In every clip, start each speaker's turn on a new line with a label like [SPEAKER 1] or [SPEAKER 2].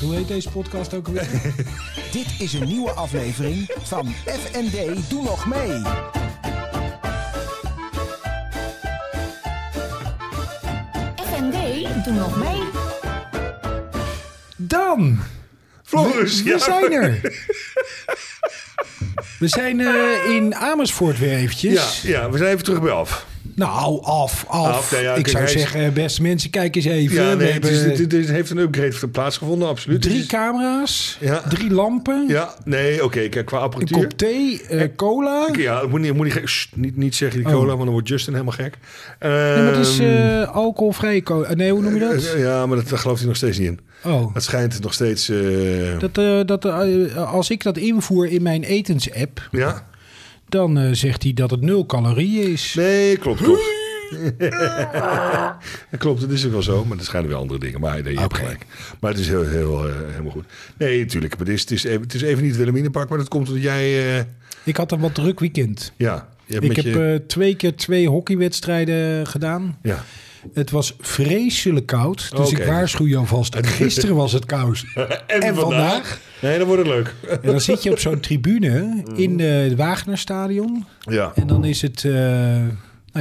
[SPEAKER 1] Hoe heet deze podcast ook alweer?
[SPEAKER 2] Dit is een nieuwe aflevering van FND Doe Nog Mee.
[SPEAKER 3] FND, doe nog mee.
[SPEAKER 1] Dan!
[SPEAKER 4] Floris,
[SPEAKER 1] we, we
[SPEAKER 4] ja.
[SPEAKER 1] zijn er! We zijn eh, in Amersfoort weer
[SPEAKER 4] Ja,
[SPEAKER 1] eventjes.
[SPEAKER 4] ja, we zijn even terug bij af.
[SPEAKER 1] Nou, af, af.
[SPEAKER 4] Af, nou ja,
[SPEAKER 1] ik
[SPEAKER 4] kijk,
[SPEAKER 1] zou
[SPEAKER 4] hij is-
[SPEAKER 1] zeggen, beste mensen, kijk eens even.
[SPEAKER 4] Ja,
[SPEAKER 1] we
[SPEAKER 4] nee, het,
[SPEAKER 1] hebben
[SPEAKER 4] is, dit- dit heeft een upgrade plaatsgevonden, absoluut. Het
[SPEAKER 1] drie
[SPEAKER 4] is-
[SPEAKER 1] camera's,
[SPEAKER 4] Ja.
[SPEAKER 1] drie lampen,
[SPEAKER 4] Ja, nee, oké, kijk, qua
[SPEAKER 1] een
[SPEAKER 4] apparatuur...
[SPEAKER 1] kop thee, eh, cola.
[SPEAKER 4] Ja, dat moet niet, moet niet, gek, Sst, niet, niet zeggen die
[SPEAKER 1] Oh.
[SPEAKER 4] cola, want dan wordt Justin helemaal gek.
[SPEAKER 1] Nee, maar het is
[SPEAKER 4] Ehm,
[SPEAKER 1] eh alcoholvrije cola. Eh, Nee, hoe noem je dat?
[SPEAKER 4] eh, ja, maar dat, daar gelooft hij nog steeds niet in.
[SPEAKER 1] Oh.
[SPEAKER 4] Het schijnt nog steeds... eh,
[SPEAKER 1] Dat, eh, dat, eh, als ik dat invoer in mijn etensapp,
[SPEAKER 4] Ja?
[SPEAKER 1] dan eh, zegt hij dat het nul calorieën is.
[SPEAKER 4] Nee, klopt, klopt. Dat klopt, dat is ook wel zo, maar er schijnen wel andere dingen. Maar nee, je hebt
[SPEAKER 1] Oké.
[SPEAKER 4] gelijk. Maar het is heel, heel, eh, helemaal goed. Nee, natuurlijk. Maar het, is, het, is even, het is even niet Wilhelminenpark, maar dat komt omdat jij... eh,
[SPEAKER 1] Ik had een wat druk weekend.
[SPEAKER 4] ja, je hebt
[SPEAKER 1] Ik
[SPEAKER 4] met
[SPEAKER 1] heb
[SPEAKER 4] je,
[SPEAKER 1] eh, twee keer twee hockeywedstrijden gedaan.
[SPEAKER 4] ja.
[SPEAKER 1] Het was vreselijk koud, dus
[SPEAKER 4] Oké.
[SPEAKER 1] ik waarschuw je alvast. Gisteren was het koud.
[SPEAKER 4] En, Nee, dan wordt het leuk.
[SPEAKER 1] En dan zit je op zo'n tribune
[SPEAKER 4] Mm.
[SPEAKER 1] in eh, het Wagnerstadion.
[SPEAKER 4] Ja.
[SPEAKER 1] En dan is het... eh, nou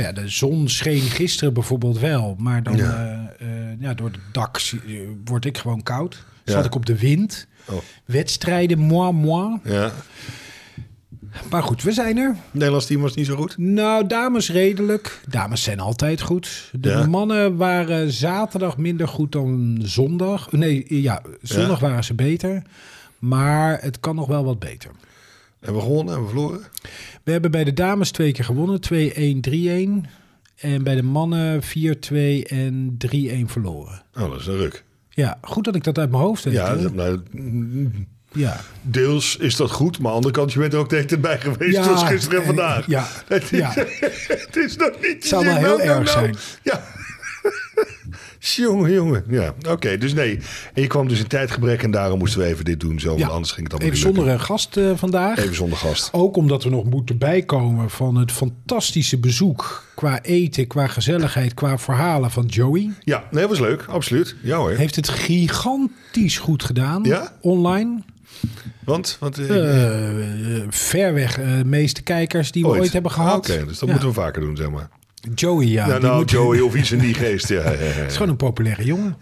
[SPEAKER 1] ja, de zon scheen gisteren bijvoorbeeld wel. Maar dan
[SPEAKER 4] Ja.
[SPEAKER 1] eh, eh, ja, door het dak zie- eh, word ik gewoon koud.
[SPEAKER 4] Ja.
[SPEAKER 1] Zat ik op de wind.
[SPEAKER 4] Oh.
[SPEAKER 1] Wedstrijden, moi, moi.
[SPEAKER 4] ja.
[SPEAKER 1] Maar goed, we zijn er.
[SPEAKER 4] Nederlands team was niet zo goed.
[SPEAKER 1] Nou, dames redelijk. Dames zijn altijd goed. De
[SPEAKER 4] Ja.
[SPEAKER 1] mannen waren zaterdag minder goed dan zondag. Nee, ja, zondag waren ze beter. Maar het kan nog wel wat beter.
[SPEAKER 4] Hebben we gewonnen, hebben we verloren.
[SPEAKER 1] We hebben bij de dames twee keer gewonnen. 2-1, 3-1. En bij de mannen 4-2 en 3-1 verloren.
[SPEAKER 4] Oh, dat is een ruk.
[SPEAKER 1] Ja, goed dat ik dat uit mijn hoofd weet.
[SPEAKER 4] Ja,
[SPEAKER 1] hè?
[SPEAKER 4] dat- nou,
[SPEAKER 1] ja.
[SPEAKER 4] deels is dat goed, maar aan de andere kant, je bent er ook de hele tijd bij geweest.
[SPEAKER 1] Ja,
[SPEAKER 4] zoals gisteren en
[SPEAKER 1] eh,
[SPEAKER 4] vandaag.
[SPEAKER 1] ja,
[SPEAKER 4] het, is,
[SPEAKER 1] ja.
[SPEAKER 4] het is nog niet... Het
[SPEAKER 1] zou wel heel erg zijn.
[SPEAKER 4] Ja. jongen, jongen. Ja, oké. dus nee. En je kwam dus in tijdgebrek en daarom moesten we even dit doen. Zo,
[SPEAKER 1] Ja.
[SPEAKER 4] want anders ging het allemaal
[SPEAKER 1] Even
[SPEAKER 4] niet
[SPEAKER 1] zonder
[SPEAKER 4] lukken.
[SPEAKER 1] een gast eh, vandaag.
[SPEAKER 4] Even zonder gast.
[SPEAKER 1] Ook omdat we nog moeten bijkomen van het fantastische bezoek qua eten, qua gezelligheid, qua verhalen van Joey.
[SPEAKER 4] Ja, nee, was leuk. Absoluut. Ja hoor.
[SPEAKER 1] Heeft het gigantisch goed gedaan
[SPEAKER 4] Ja?
[SPEAKER 1] online.
[SPEAKER 4] Want? want eh,
[SPEAKER 1] Eh, eh, ver weg eh, de meeste kijkers die we ooit, hebben gehad.
[SPEAKER 4] Oké, dus dat
[SPEAKER 1] Ja.
[SPEAKER 4] moeten we vaker doen, zeg maar.
[SPEAKER 1] Joey, ja.
[SPEAKER 4] nou,
[SPEAKER 1] die
[SPEAKER 4] nou
[SPEAKER 1] moet-
[SPEAKER 4] Joey of iets in die geest. Ja, ja, ja.
[SPEAKER 1] is gewoon een populaire jongen.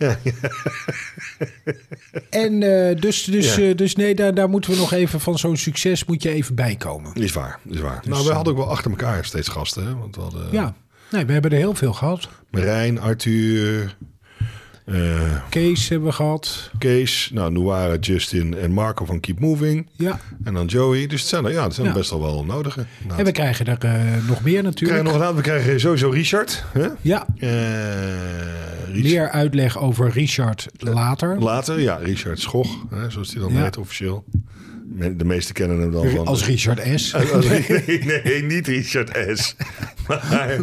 [SPEAKER 1] en eh, dus, dus,
[SPEAKER 4] Ja.
[SPEAKER 1] eh, dus nee, daar, daar moeten we nog even van zo'n succes moet je even bijkomen.
[SPEAKER 4] Is waar, is waar. nou, we hadden ook wel achter elkaar steeds gasten. Hè? Want we hadden
[SPEAKER 1] Dus, eh, Ja, nee, we hebben er heel veel gehad.
[SPEAKER 4] Marijn, Arthur, eh,
[SPEAKER 1] Kees hebben we gehad.
[SPEAKER 4] Kees, nou, Noara, Justin en Marco van Keep Moving.
[SPEAKER 1] Ja.
[SPEAKER 4] En dan Joey. Dus het zijn er, ja, het zijn er
[SPEAKER 1] Ja.
[SPEAKER 4] best wel wel nodige. Nou,
[SPEAKER 1] En we krijgen er eh, nog meer
[SPEAKER 4] we
[SPEAKER 1] natuurlijk.
[SPEAKER 4] krijgen nog een aantal. We krijgen sowieso Richard. Hè?
[SPEAKER 1] Ja,
[SPEAKER 4] Eh, Richard.
[SPEAKER 1] meer uitleg over Richard later.
[SPEAKER 4] Later, ja, Richard Schoch, hè, zoals die dan
[SPEAKER 1] Ja.
[SPEAKER 4] heet officieel. Me- De meesten kennen hem dan van...
[SPEAKER 1] Als Richard S.
[SPEAKER 4] Als- nee, nee, niet Richard S. Maar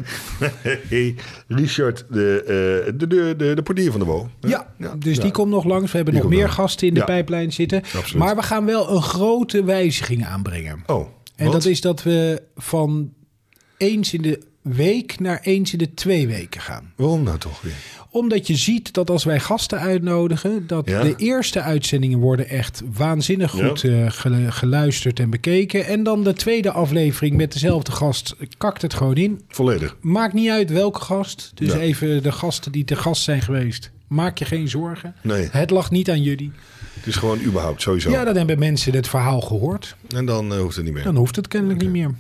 [SPEAKER 4] nee, Richard, de, eh, de, de, de, de portier van de WO.
[SPEAKER 1] Ja, dus die komt nog langs. We hebben nog
[SPEAKER 4] komt
[SPEAKER 1] meer
[SPEAKER 4] nog.
[SPEAKER 1] gasten in de
[SPEAKER 4] Ja.
[SPEAKER 1] pijplijn zitten.
[SPEAKER 4] Absoluut.
[SPEAKER 1] Maar we gaan wel een grote wijziging aanbrengen.
[SPEAKER 4] Oh,
[SPEAKER 1] En
[SPEAKER 4] wat?
[SPEAKER 1] dat is dat we van eens in de week naar eens in de twee weken gaan.
[SPEAKER 4] Waarom nou toch weer?
[SPEAKER 1] Omdat je ziet dat als wij gasten uitnodigen, dat
[SPEAKER 4] Ja.
[SPEAKER 1] de eerste uitzendingen worden echt waanzinnig
[SPEAKER 4] Ja.
[SPEAKER 1] goed eh, gelu- geluisterd en bekeken. En dan de tweede aflevering met dezelfde gast kakt het gewoon in.
[SPEAKER 4] Volledig.
[SPEAKER 1] Maakt niet uit welke gast. Dus
[SPEAKER 4] Ja.
[SPEAKER 1] even de gasten die te gast zijn geweest. Maak je geen zorgen.
[SPEAKER 4] Nee.
[SPEAKER 1] Het lag niet aan jullie.
[SPEAKER 4] Het is gewoon überhaupt, sowieso.
[SPEAKER 1] Ja, dan hebben mensen het verhaal gehoord.
[SPEAKER 4] En dan eh, hoeft het niet meer.
[SPEAKER 1] Dan hoeft het kennelijk niet meer.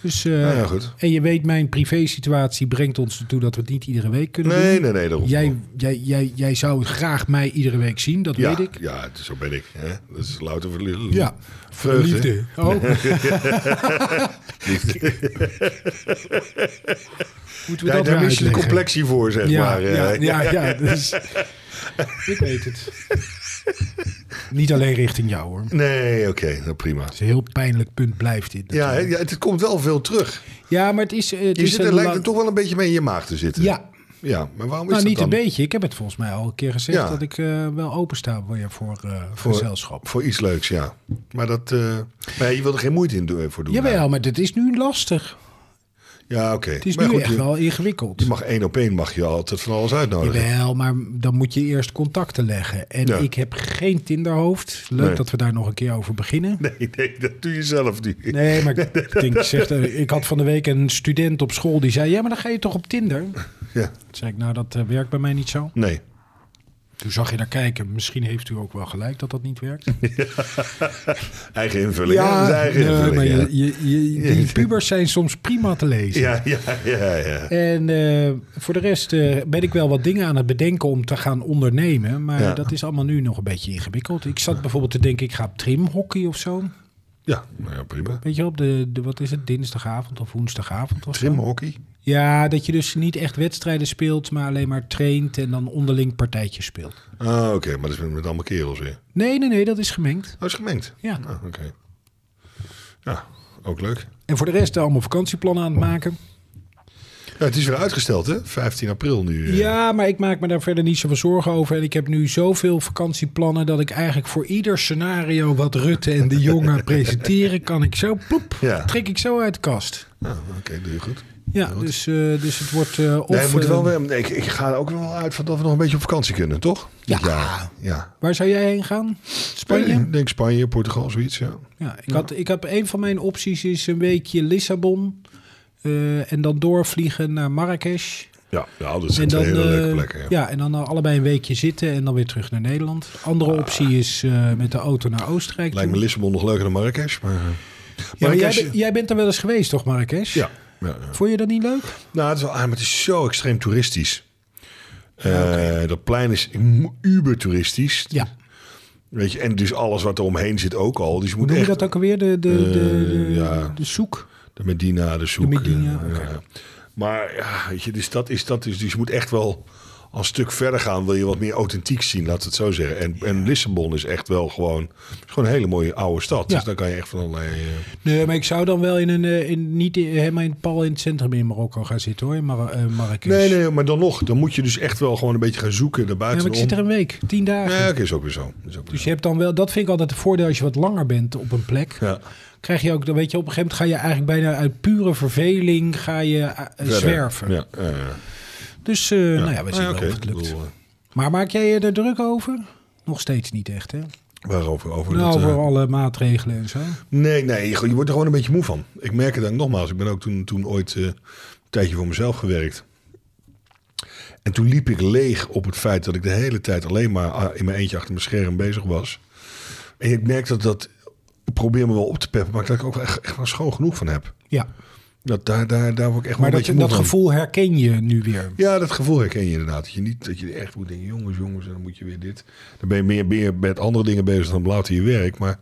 [SPEAKER 1] Dus, eh,
[SPEAKER 4] Nou ja, goed.
[SPEAKER 1] En je weet, mijn privé-situatie brengt ons ertoe dat we het niet iedere week kunnen
[SPEAKER 4] Nee,
[SPEAKER 1] doen.
[SPEAKER 4] nee, nee, daarom.
[SPEAKER 1] Jij, jij, jij, jij zou graag mij iedere week zien, dat
[SPEAKER 4] ja,
[SPEAKER 1] weet ik.
[SPEAKER 4] Ja, het- zo ben ik. Hè? Dat is louter verliefd.
[SPEAKER 1] Ja,
[SPEAKER 4] Vreugde.
[SPEAKER 1] liefde. Oh, moeten we
[SPEAKER 4] Ja,
[SPEAKER 1] dat
[SPEAKER 4] daar
[SPEAKER 1] weer
[SPEAKER 4] mis je de
[SPEAKER 1] uitleggen?
[SPEAKER 4] complexie voor, zeg
[SPEAKER 1] ja,
[SPEAKER 4] maar. eh.
[SPEAKER 1] ja, ja, ja, dus, ik weet het. Niet alleen richting jou hoor. Het
[SPEAKER 4] Nee, oké, nou, prima.
[SPEAKER 1] is een heel pijnlijk punt blijft dit.
[SPEAKER 4] Ja, hè,
[SPEAKER 1] natuurlijk.
[SPEAKER 4] ja, het komt wel veel terug.
[SPEAKER 1] ja, maar het is... eh, Het
[SPEAKER 4] Je
[SPEAKER 1] is
[SPEAKER 4] zit
[SPEAKER 1] een
[SPEAKER 4] er, lijkt
[SPEAKER 1] lang-
[SPEAKER 4] er toch wel een beetje mee in je maag te zitten.
[SPEAKER 1] Dus, Ja,
[SPEAKER 4] Ja, maar waarom
[SPEAKER 1] nou
[SPEAKER 4] is dat
[SPEAKER 1] niet
[SPEAKER 4] dan?
[SPEAKER 1] een beetje. Ik heb het volgens mij al een keer gezegd
[SPEAKER 4] Ja.
[SPEAKER 1] dat ik eh, wel opensta voor, je voor, eh, voor gezelschap.
[SPEAKER 4] Voor iets leuks, ja. Maar dat, eh, maar je wil er geen moeite in doen, voor doen.
[SPEAKER 1] Jawel, maar dit is nu lastig.
[SPEAKER 4] Ja, Ja, oké.
[SPEAKER 1] Het is
[SPEAKER 4] Maar
[SPEAKER 1] nu
[SPEAKER 4] goed,
[SPEAKER 1] echt
[SPEAKER 4] je-
[SPEAKER 1] wel ingewikkeld.
[SPEAKER 4] Je mag één op één mag je altijd van alles uitnodigen.
[SPEAKER 1] Jawel, maar dan moet je eerst contacten leggen. En
[SPEAKER 4] Oh, Ja.
[SPEAKER 1] ik heb geen Tinderhoofd. Leuk
[SPEAKER 4] Nee.
[SPEAKER 1] dat we daar nog een keer over beginnen.
[SPEAKER 4] Nee, nee, dat doe je zelf nu.
[SPEAKER 1] Nee, maar ik, denk, ik zeg, eh, ik had van de week een student op school die zei... ja, maar dan ga je toch op Tinder? Toen
[SPEAKER 4] Ja,
[SPEAKER 1] zei ik, nou, dat eh, werkt bij mij niet zo.
[SPEAKER 4] nee.
[SPEAKER 1] Toen zag je daar kijken. Misschien heeft u ook wel gelijk dat dat niet werkt.
[SPEAKER 4] Eigen invulling. Ja, dat is eigen invulling.
[SPEAKER 1] maar
[SPEAKER 4] ja.
[SPEAKER 1] je, je, je- die pubers zijn soms prima te lezen.
[SPEAKER 4] ja, ja, ja, ja.
[SPEAKER 1] En eh, voor de rest eh, ben ik wel wat dingen aan het bedenken om te gaan ondernemen. Maar
[SPEAKER 4] Ja.
[SPEAKER 1] dat is allemaal nu nog een beetje ingewikkeld. Ik zat bijvoorbeeld te denken, ik ga op trimhockey of zo.
[SPEAKER 4] Ja, nou ja, prima.
[SPEAKER 1] Weet je wel, op de, de, wat is het, dinsdagavond of woensdagavond of zo?
[SPEAKER 4] Trimhockey.
[SPEAKER 1] Ja, dat je dus niet echt wedstrijden speelt, maar alleen maar traint en dan onderling partijtjes speelt.
[SPEAKER 4] Ah, oké, maar dat is met, met allemaal kerels weer.
[SPEAKER 1] Nee, nee, nee, dat is gemengd.
[SPEAKER 4] Oh, is gemengd.
[SPEAKER 1] Ja.
[SPEAKER 4] Ah, oké. Ja, ook leuk.
[SPEAKER 1] En voor de rest eh, allemaal vakantieplannen aan het maken.
[SPEAKER 4] Ja, het is weer uitgesteld, hè? 15 april nu. eh.
[SPEAKER 1] Ja, maar ik maak me daar verder niet zoveel zorgen over. En ik heb nu zoveel vakantieplannen dat ik eigenlijk voor ieder scenario wat Rutte en de jongen presenteren, kan ik zo ploep,
[SPEAKER 4] Ja.
[SPEAKER 1] trek ik zo uit de kast.
[SPEAKER 4] Ah, oké, doe je goed.
[SPEAKER 1] Ja, dus, eh, dus het wordt eh, of.
[SPEAKER 4] Nee, we moeten wel
[SPEAKER 1] eh,
[SPEAKER 4] weer, nee, ik, ik ga er ook wel uit van dat we nog een beetje op vakantie kunnen, toch?
[SPEAKER 1] Ja.
[SPEAKER 4] Ja. ja.
[SPEAKER 1] Waar zou jij heen gaan? Spanje?
[SPEAKER 4] Ik denk Spanje, Portugal, zoiets, ja.
[SPEAKER 1] Ja, ik, had, ik heb een van mijn opties is een weekje Lissabon. eh, en dan doorvliegen naar Marrakesh.
[SPEAKER 4] Ja, ja dat
[SPEAKER 1] En
[SPEAKER 4] zijn
[SPEAKER 1] dan,
[SPEAKER 4] twee hele leuke
[SPEAKER 1] eh,
[SPEAKER 4] plekken.
[SPEAKER 1] ja.
[SPEAKER 4] ja.
[SPEAKER 1] en dan eh, allebei een weekje zitten en dan weer terug naar Nederland. Andere optie is eh, met de auto naar Oostenrijk.
[SPEAKER 4] Ah. Lijkt me
[SPEAKER 1] toe.
[SPEAKER 4] Lissabon nog leuker dan Marrakesh, maar... eh,
[SPEAKER 1] Ja, maar jij,
[SPEAKER 4] Marrakesh-
[SPEAKER 1] bent- jij bent er wel eens geweest, toch, Marrakesh?
[SPEAKER 4] Ja. ja, ja.
[SPEAKER 1] Vond je dat niet leuk?
[SPEAKER 4] Nou, het is wel aardig, maar het is zo extreem toeristisch. Eh, Dat plein is m- uber toeristisch.
[SPEAKER 1] Ja.
[SPEAKER 4] Weet je, en dus alles wat er omheen zit ook al. Dus je moet
[SPEAKER 1] Noem je
[SPEAKER 4] echt
[SPEAKER 1] dat ook alweer? De, de, de, de,
[SPEAKER 4] Eh, ja.
[SPEAKER 1] de zoek?
[SPEAKER 4] de Medina, de zoek.
[SPEAKER 1] De Medina,
[SPEAKER 4] eh,
[SPEAKER 1] oké.
[SPEAKER 4] ja. Maar ja, weet je, dus dat is dat is. Dus je moet echt wel een stuk verder gaan. Wil je wat meer authentiek zien, laat het zo zeggen. En, en Lissabon is echt wel gewoon, is gewoon een hele mooie oude stad.
[SPEAKER 1] Ja.
[SPEAKER 4] Dus daar kan je echt van allerlei... eh,
[SPEAKER 1] Nee, maar ik zou dan wel in een, eh, in, niet in- helemaal in, pal in het centrum in Marokko gaan zitten, hoor. in Mar eh, Marrakesh.
[SPEAKER 4] Nee, nee, maar dan nog. Dan moet je dus echt wel gewoon een beetje gaan zoeken naar
[SPEAKER 1] Ja, maar
[SPEAKER 4] buiten.
[SPEAKER 1] ik zit er een week, tien dagen.
[SPEAKER 4] Ja, oké, is ook weer zo. Is ook weer
[SPEAKER 1] Dus
[SPEAKER 4] zo.
[SPEAKER 1] je hebt dan wel, dat vind ik altijd het voordeel als je wat langer bent op een plek.
[SPEAKER 4] Ja.
[SPEAKER 1] Krijg je ook, dan weet je, op een gegeven moment ga je eigenlijk bijna uit pure verveling ga je eh,
[SPEAKER 4] Verder.
[SPEAKER 1] zwerven.
[SPEAKER 4] Ja, ja, ja.
[SPEAKER 1] Dus eh, nou ja, we
[SPEAKER 4] Ah,
[SPEAKER 1] zien
[SPEAKER 4] oké.
[SPEAKER 1] wel of het lukt.
[SPEAKER 4] Ik bedoel, eh,
[SPEAKER 1] Maar maak jij je er druk over? Nog steeds niet echt, hè?
[SPEAKER 4] Waarover? Over
[SPEAKER 1] nou,
[SPEAKER 4] dat, eh,
[SPEAKER 1] voor alle maatregelen en zo.
[SPEAKER 4] Nee, nee, je, je wordt er gewoon een beetje moe van. Ik merk het ook nogmaals. Ik ben ook toen, toen ooit eh, een tijdje voor mezelf gewerkt. En toen liep ik leeg op het feit dat ik de hele tijd alleen maar ah, in mijn eentje achter mijn scherm bezig was. En ik merk dat dat. Ik probeer me wel op te peppen, maar dat ik ook echt, echt wel schoon genoeg van heb.
[SPEAKER 1] Ja,
[SPEAKER 4] Dat, daar, daar, daar word ik echt wel
[SPEAKER 1] maar
[SPEAKER 4] een
[SPEAKER 1] dat,
[SPEAKER 4] beetje moe
[SPEAKER 1] dat
[SPEAKER 4] van.
[SPEAKER 1] gevoel herken je nu weer.
[SPEAKER 4] Ja, dat gevoel herken je inderdaad. Dat je, niet, dat je echt moet denken, jongens, jongens, en dan moet je weer dit. Dan ben je meer, meer met andere dingen bezig dan later je werk. Maar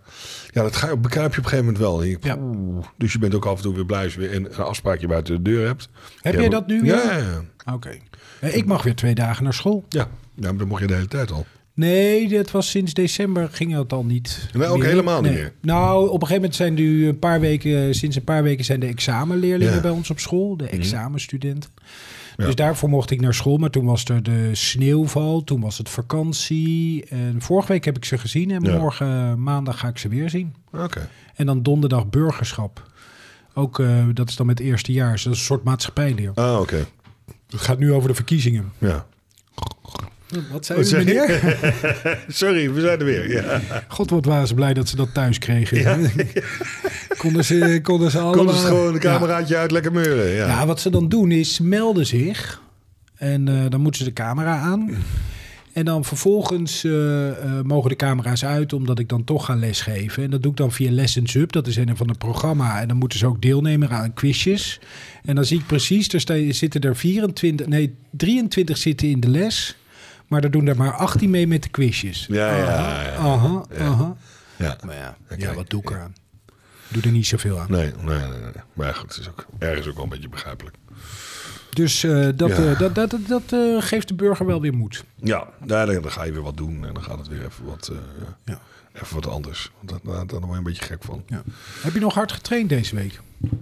[SPEAKER 4] ja, dat ga je, bekruip je op een gegeven moment wel. En je-
[SPEAKER 1] Ja.
[SPEAKER 4] oeh. Dus je bent ook af en toe weer blij als je weer een, een afspraakje buiten de deur hebt.
[SPEAKER 1] Heb
[SPEAKER 4] Ja,
[SPEAKER 1] jij
[SPEAKER 4] maar-
[SPEAKER 1] dat nu
[SPEAKER 4] Ja,
[SPEAKER 1] weer?
[SPEAKER 4] ja, ja.
[SPEAKER 1] Oké. Eh, Ik mag weer twee dagen naar school.
[SPEAKER 4] ja. Ja, maar dat mocht je de hele tijd al.
[SPEAKER 1] Nee, dat was sinds december ging dat al niet.
[SPEAKER 4] Nee, ook
[SPEAKER 1] meer.
[SPEAKER 4] helemaal niet
[SPEAKER 1] Nee.
[SPEAKER 4] meer.
[SPEAKER 1] Nou, op een gegeven moment zijn nu een paar weken, sinds een paar weken zijn de examenleerlingen
[SPEAKER 4] Ja. Mhm.
[SPEAKER 1] bij ons op school, de examenstudenten.
[SPEAKER 4] Ja.
[SPEAKER 1] Dus daarvoor mocht ik naar school, maar toen was er de sneeuwval, toen was het vakantie. En vorige week heb ik ze gezien en
[SPEAKER 4] Ja.
[SPEAKER 1] morgen eh, maandag ga ik ze weer zien.
[SPEAKER 4] Ah, Oké.
[SPEAKER 1] En dan donderdag burgerschap. Ook eh, dat is dan met eerstejaars, dat is een soort maatschappijleer.
[SPEAKER 4] Ah, oké.
[SPEAKER 1] Het gaat nu over de verkiezingen.
[SPEAKER 4] Ja.
[SPEAKER 1] Wat zei
[SPEAKER 4] Wat
[SPEAKER 1] u,
[SPEAKER 4] zei je?
[SPEAKER 1] meneer?
[SPEAKER 4] Sorry, we zijn er weer. Ja.
[SPEAKER 1] God, wat waren ze blij dat ze dat thuis kregen. konden, ze, konden ze allemaal...
[SPEAKER 4] Konden ze gewoon een
[SPEAKER 1] Ja.
[SPEAKER 4] cameraatje uit lekker meuren. Ja.
[SPEAKER 1] Ja, wat ze dan doen is, ze melden zich. En eh, dan moeten ze de camera aan. En dan vervolgens eh, eh, mogen de camera's uit, omdat ik dan toch ga lesgeven. En dat doe ik dan via Lessons Up, dat is een van het programma. En dan moeten ze ook deelnemen aan quizjes. En dan zie ik precies, er sta- zitten er 24, nee, 23 zitten in de les. Maar er doen er maar 18 mee met de quizjes.
[SPEAKER 4] Ja, ja, ja.
[SPEAKER 1] Aha, aha.
[SPEAKER 4] Ja.
[SPEAKER 1] Maar ja, ja
[SPEAKER 4] kijk,
[SPEAKER 1] wat doe ik eraan? Doe er niet zoveel aan.
[SPEAKER 4] Nee, nee, nee, nee. Maar ja, goed, het is ook ergens ook wel een beetje begrijpelijk.
[SPEAKER 1] Dus eh, dat,
[SPEAKER 4] Ja.
[SPEAKER 1] eh, dat, dat, dat, dat, eh, geeft de burger wel weer moed.
[SPEAKER 4] Ja, daar dan, dan ga je weer wat doen en dan gaat het weer even wat, eh,
[SPEAKER 1] Ja.
[SPEAKER 4] even wat anders. Want dat- daar dan word je een beetje gek van.
[SPEAKER 1] Ja. Heb je nog hard getraind deze week?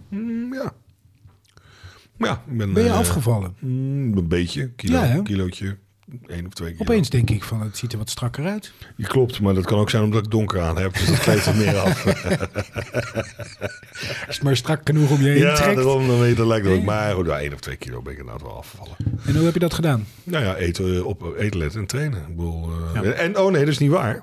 [SPEAKER 4] Mm, ja. Maar ja, ik ben,
[SPEAKER 1] Ben je
[SPEAKER 4] eh,
[SPEAKER 1] afgevallen?
[SPEAKER 4] mm, een beetje, kilo,
[SPEAKER 1] Ja, hè?
[SPEAKER 4] kilootje. één of twee keer.
[SPEAKER 1] Opeens denk ik van, het ziet er wat strakker uit.
[SPEAKER 4] Je klopt, maar dat kan ook zijn omdat ik donker aan heb. Dus dat kleedt er meer af.
[SPEAKER 1] Als het maar strak genoeg om je heen
[SPEAKER 4] ja,
[SPEAKER 1] trekt.
[SPEAKER 4] daarom dan weet je, dat lijkt het ook. Maar goed, nou, één of twee kilo ben ik inderdaad wel afgevallen.
[SPEAKER 1] En hoe heb je dat gedaan?
[SPEAKER 4] Nou ja, eten, op, eten letten en trainen. Ik bedoel, eh, En oh nee, dat is niet waar.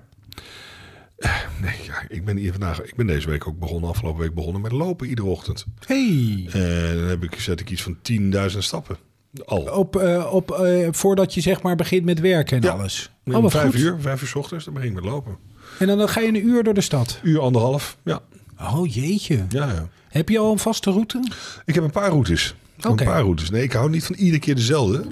[SPEAKER 4] Eh, Nee, ja, ik ben hier vandaag, ik ben deze week ook begonnen, afgelopen week begonnen met lopen iedere ochtend.
[SPEAKER 1] Hey.
[SPEAKER 4] En dan heb ik, zet ik iets van 10.000 stappen. Al.
[SPEAKER 1] Op, eh, op, eh, voordat je zeg maar begint met werken en
[SPEAKER 4] Ja.
[SPEAKER 1] alles.
[SPEAKER 4] Om
[SPEAKER 1] Oh, wat
[SPEAKER 4] vijf
[SPEAKER 1] goed.
[SPEAKER 4] uur, vijf uur 's ochtends, dan begin ik met lopen.
[SPEAKER 1] En dan, dan ga je een uur door de stad.
[SPEAKER 4] Uur, anderhalf, ja.
[SPEAKER 1] Oh jeetje.
[SPEAKER 4] ja, ja.
[SPEAKER 1] Heb je al een vaste route?
[SPEAKER 4] Ik heb een paar routes. Ik heb
[SPEAKER 1] Oké.
[SPEAKER 4] Een paar routes. Nee, ik hou niet van iedere keer dezelfde.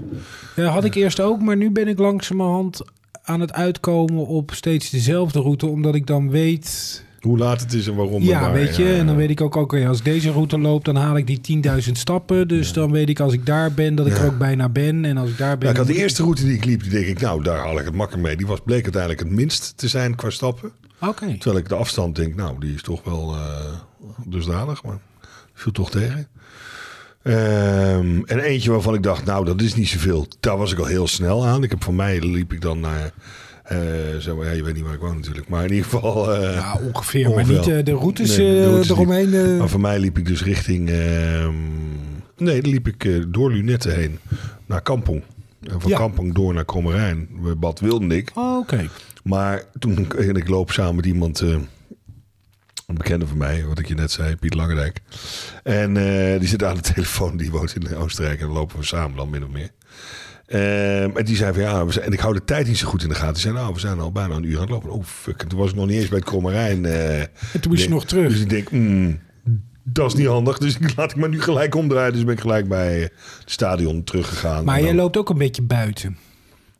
[SPEAKER 1] Ja, Eh, had ik eerst ook, maar nu ben ik langzamerhand aan het uitkomen op steeds dezelfde route. Omdat ik dan weet.
[SPEAKER 4] Hoe laat het is en waarom. en
[SPEAKER 1] ja,
[SPEAKER 4] waar,
[SPEAKER 1] weet je.
[SPEAKER 4] ja.
[SPEAKER 1] En dan weet ik ook, oké, als ik deze route loop, dan haal ik die 10.000 stappen. Dus dan weet ik als ik daar ben, dat ik er ook bijna ben. En als ik daar ben.
[SPEAKER 4] Ja, ik had
[SPEAKER 1] dan
[SPEAKER 4] de
[SPEAKER 1] moet
[SPEAKER 4] eerste route die ik liep, die denk ik, nou, daar haal ik het makker mee. Die was, bleek uiteindelijk het minst te zijn qua stappen.
[SPEAKER 1] Oké.
[SPEAKER 4] Terwijl ik de afstand denk, nou, die is toch wel eh, dusdanig, maar viel toch tegen. Ehm, en eentje waarvan ik dacht, nou, dat is niet zoveel. Daar was ik al heel snel aan. Ik heb van mij liep ik dan naar, eh, zeg maar, ja, je weet niet waar ik woon natuurlijk, maar in ieder geval. eh,
[SPEAKER 1] Ja, ongeveer. Maar
[SPEAKER 4] Ongeveer.
[SPEAKER 1] niet eh, de routes
[SPEAKER 4] Nee, de
[SPEAKER 1] eh,
[SPEAKER 4] routes niet.
[SPEAKER 1] eromheen. eh.
[SPEAKER 4] Maar voor mij liep ik dus richting. ehm, nee, dan liep ik eh, door Lunette heen naar Kampong. En van
[SPEAKER 1] Ja.
[SPEAKER 4] Kampong door naar Kommerijn, bij Bad Wildendik.
[SPEAKER 1] Oh, Oké.
[SPEAKER 4] Maar toen en ik loop samen met iemand, eh, een bekende van mij, wat ik je net zei, Piet Langendijk. En eh, die zit aan de telefoon, die woont in Oostenrijk en dan lopen we samen dan min of meer. Ehm, en die zei van ja, we zijn, en ik hou de tijd niet zo goed in de gaten. Die zei nou, we zijn al bijna een uur aan het lopen. Oh fuck, en toen was ik nog niet eens bij het Krommerijn. eh.
[SPEAKER 1] En toen moest je
[SPEAKER 4] Nee.
[SPEAKER 1] nog terug.
[SPEAKER 4] Dus ik denk, mm, dat is niet handig. Dus ik laat ik me nu gelijk omdraaien. Dus ben ik gelijk bij eh, het stadion teruggegaan.
[SPEAKER 1] Maar
[SPEAKER 4] En
[SPEAKER 1] jij
[SPEAKER 4] dan-
[SPEAKER 1] loopt ook een beetje buiten.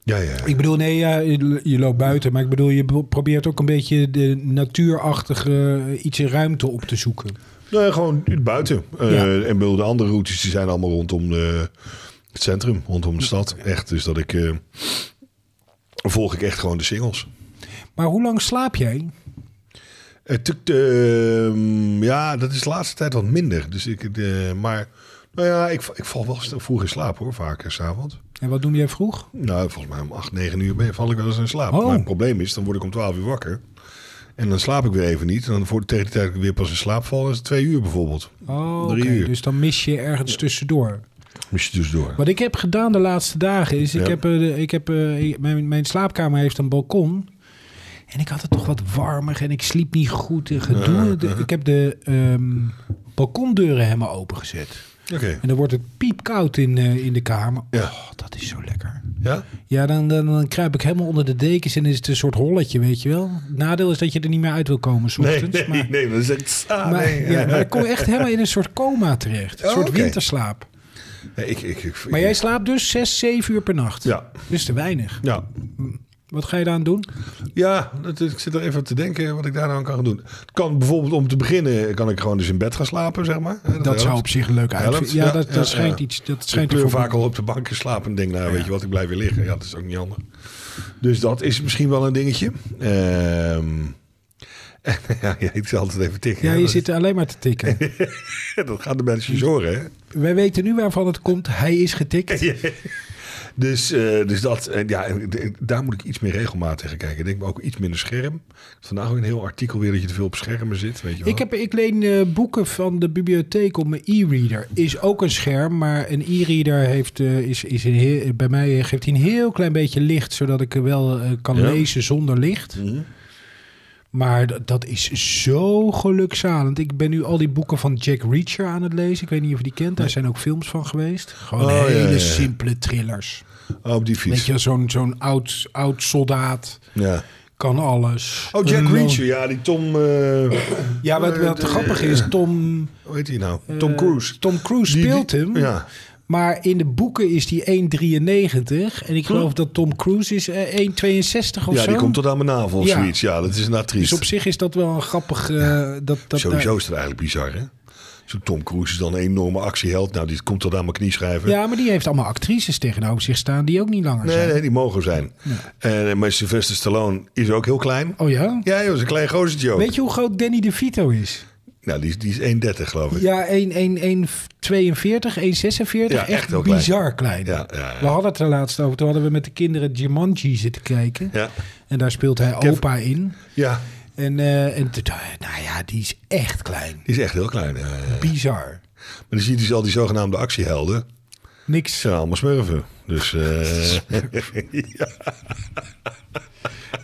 [SPEAKER 4] Ja, ja.
[SPEAKER 1] Ik bedoel, nee, ja, je- je loopt buiten. Maar ik bedoel, je pro- probeert ook een beetje de natuurachtige eh, iets in ruimte op te zoeken.
[SPEAKER 4] Nee, gewoon buiten. Eh,
[SPEAKER 1] Ja.
[SPEAKER 4] En ik bedoel, de andere routes die zijn allemaal rondom de, het centrum, rondom de stad. Echt, dus dat ik... eh, volg ik echt gewoon de singles.
[SPEAKER 1] Maar hoe lang slaap jij?
[SPEAKER 4] Het, tukt, ehm, ja, dat is de laatste tijd wat minder. Dus ik, eh, maar nou ja, ik, ik val wel snel vroeg in slaap hoor, vaak eh, s'avonds.
[SPEAKER 1] En wat doe jij vroeg?
[SPEAKER 4] Nou, volgens mij om 8, 9 uur ben, val ik wel eens in slaap.
[SPEAKER 1] Oh.
[SPEAKER 4] Maar het probleem is, dan word ik om 12 uur wakker. En dan slaap ik weer even niet. En dan voor, tegen de tijd dat ik weer pas in slaap val, is het 2 uur bijvoorbeeld.
[SPEAKER 1] Oh,
[SPEAKER 4] Drie
[SPEAKER 1] oké,
[SPEAKER 4] uur.
[SPEAKER 1] dus dan mis je ergens tussendoor.
[SPEAKER 4] Moest je dus door.
[SPEAKER 1] Wat ik heb gedaan de laatste dagen is, ik
[SPEAKER 4] Ja.
[SPEAKER 1] heb, eh, de- ik heb eh, ik- mijn, mijn slaapkamer heeft een balkon. En ik had het toch wat warmer en ik sliep niet goed en gedoe. De- ik heb de ehm, balkondeuren helemaal opengezet.
[SPEAKER 4] Oké.
[SPEAKER 1] En dan wordt het piepkoud in, eh, in de kamer.
[SPEAKER 4] Ja.
[SPEAKER 1] Oh, dat is zo lekker.
[SPEAKER 4] Ja?
[SPEAKER 1] Ja, dan, dan, dan kruip ik helemaal onder de dekens en is het een soort holletje, weet je wel. Nadeel is dat je er niet meer uit wil komen 's
[SPEAKER 4] Nee,
[SPEAKER 1] ochtends.
[SPEAKER 4] nee,
[SPEAKER 1] maar,
[SPEAKER 4] nee. Dan zeg ik, "Ah,
[SPEAKER 1] maar,
[SPEAKER 4] nee."
[SPEAKER 1] ja, maar dan kom je echt helemaal in een soort coma terecht. Een
[SPEAKER 4] Oh,
[SPEAKER 1] soort
[SPEAKER 4] oké.
[SPEAKER 1] winterslaap.
[SPEAKER 4] Nee, ik, ik, ik,
[SPEAKER 1] Maar jij slaapt dus 6, 7 uur per nacht.
[SPEAKER 4] Ja.
[SPEAKER 1] Dat is te weinig.
[SPEAKER 4] Ja,
[SPEAKER 1] Wat ga je daaraan doen?
[SPEAKER 4] ja dat, ik zit er even aan te denken wat ik daar nou aan kan gaan doen. Het kan bijvoorbeeld om te beginnen, kan ik gewoon dus in bed gaan slapen, zeg maar. Hè,
[SPEAKER 1] Dat,
[SPEAKER 4] helpt.
[SPEAKER 1] zou op zich leuk
[SPEAKER 4] Helpt,
[SPEAKER 1] uit. Ja,
[SPEAKER 4] ja,
[SPEAKER 1] dat, dat
[SPEAKER 4] ja,
[SPEAKER 1] schijnt
[SPEAKER 4] ja.
[SPEAKER 1] iets. Dat
[SPEAKER 4] Ik
[SPEAKER 1] schijnt
[SPEAKER 4] kleur
[SPEAKER 1] ervoor-
[SPEAKER 4] vaak al op de bank in slaap en denk, nou weet je wat, ik blijf weer liggen. Ja, dat is ook niet handig. Dus dat is misschien wel een dingetje. Ehm ja, ja, ik zal altijd even tikken.
[SPEAKER 1] Ja,
[SPEAKER 4] hè.
[SPEAKER 1] je
[SPEAKER 4] dat,
[SPEAKER 1] zit er alleen maar te tikken.
[SPEAKER 4] dat gaat de mensen zorgen, hè?
[SPEAKER 1] Wij weten nu waarvan het komt. Hij is getikt.
[SPEAKER 4] Dus, eh, dus dat, eh, ja, en d- daar moet ik iets meer regelmaat tegen kijken. Ik denk maar ook iets minder scherm. Vandaag ook een heel artikel weer dat je te veel op schermen zit. Weet je wel.
[SPEAKER 1] Ik, heb, ik leen eh, boeken van de bibliotheek op mijn e-reader. Is ook een scherm, maar een e-reader heeft, eh, is, is een heel- bij mij eh, geeft hij een heel klein beetje licht, zodat ik eh, wel eh, kan
[SPEAKER 4] Ja.
[SPEAKER 1] lezen zonder licht.
[SPEAKER 4] Mhm.
[SPEAKER 1] Maar d- dat is zo gelukzalend. Ik ben nu al die boeken van Jack Reacher aan het lezen. Ik weet niet of je die kent. Daar zijn ook films van geweest. Gewoon
[SPEAKER 4] Oh, ja,
[SPEAKER 1] hele
[SPEAKER 4] ja, ja.
[SPEAKER 1] simpele thrillers.
[SPEAKER 4] Oh, op die
[SPEAKER 1] Weet
[SPEAKER 4] fiets.
[SPEAKER 1] je, zo'n zo'n oud, oud soldaat
[SPEAKER 4] Ja.
[SPEAKER 1] kan alles.
[SPEAKER 4] Oh, Jack
[SPEAKER 1] Een lo-
[SPEAKER 4] Reacher. Ja, die Tom... eh,
[SPEAKER 1] Ja, wat, wat
[SPEAKER 4] eh,
[SPEAKER 1] grappig is, Tom...
[SPEAKER 4] Hoe heet hij nou?
[SPEAKER 1] eh,
[SPEAKER 4] Tom Cruise.
[SPEAKER 1] Tom Cruise
[SPEAKER 4] Die- die-
[SPEAKER 1] speelt hem.
[SPEAKER 4] Ja.
[SPEAKER 1] Maar in de boeken is die 1,93. En ik geloof dat Tom Cruise is eh, 1,62 of
[SPEAKER 4] ja,
[SPEAKER 1] zo.
[SPEAKER 4] die komt tot aan mijn navel of
[SPEAKER 1] Ja.
[SPEAKER 4] zoiets. Ja, dat is een triest.
[SPEAKER 1] Dus op zich is dat wel een grappig... eh, dat, dat,
[SPEAKER 4] Sowieso is dat eigenlijk bizar, hè? Zo'n Tom Cruise is dan een enorme actieheld. Nou, die komt tot aan mijn knie schrijven.
[SPEAKER 1] Ja, maar die heeft allemaal actrices tegenover zich staan die ook niet langer
[SPEAKER 4] nee,
[SPEAKER 1] zijn.
[SPEAKER 4] nee, die mogen zijn. En, eh, maar Sylvester Stallone is ook heel klein.
[SPEAKER 1] Oh ja?
[SPEAKER 4] Ja, joh, is een klein gozertje ook.
[SPEAKER 1] Weet je hoe groot Danny DeVito is?
[SPEAKER 4] Nou, die, is- die is 1,30 geloof ik.
[SPEAKER 1] Ja, 1, 1, 1, 42, 1, 46.
[SPEAKER 4] Ja, echt
[SPEAKER 1] echt
[SPEAKER 4] heel klein.
[SPEAKER 1] bizar klein.
[SPEAKER 4] Ja, ja, ja.
[SPEAKER 1] We hadden het er laatst over. Toen hadden we met de kinderen Jumanji zitten kijken.
[SPEAKER 4] Ja.
[SPEAKER 1] En daar speelt hij
[SPEAKER 4] Kevin-
[SPEAKER 1] opa in.
[SPEAKER 4] Ja,
[SPEAKER 1] En, eh, en toen dacht ik, nou ja, die is echt klein.
[SPEAKER 4] die is echt heel klein. Ja, ja, ja.
[SPEAKER 1] Bizar.
[SPEAKER 4] Maar dan zie je dus al die zogenaamde actiehelden.
[SPEAKER 1] Niks.
[SPEAKER 4] zijn allemaal smurven. Dus eh,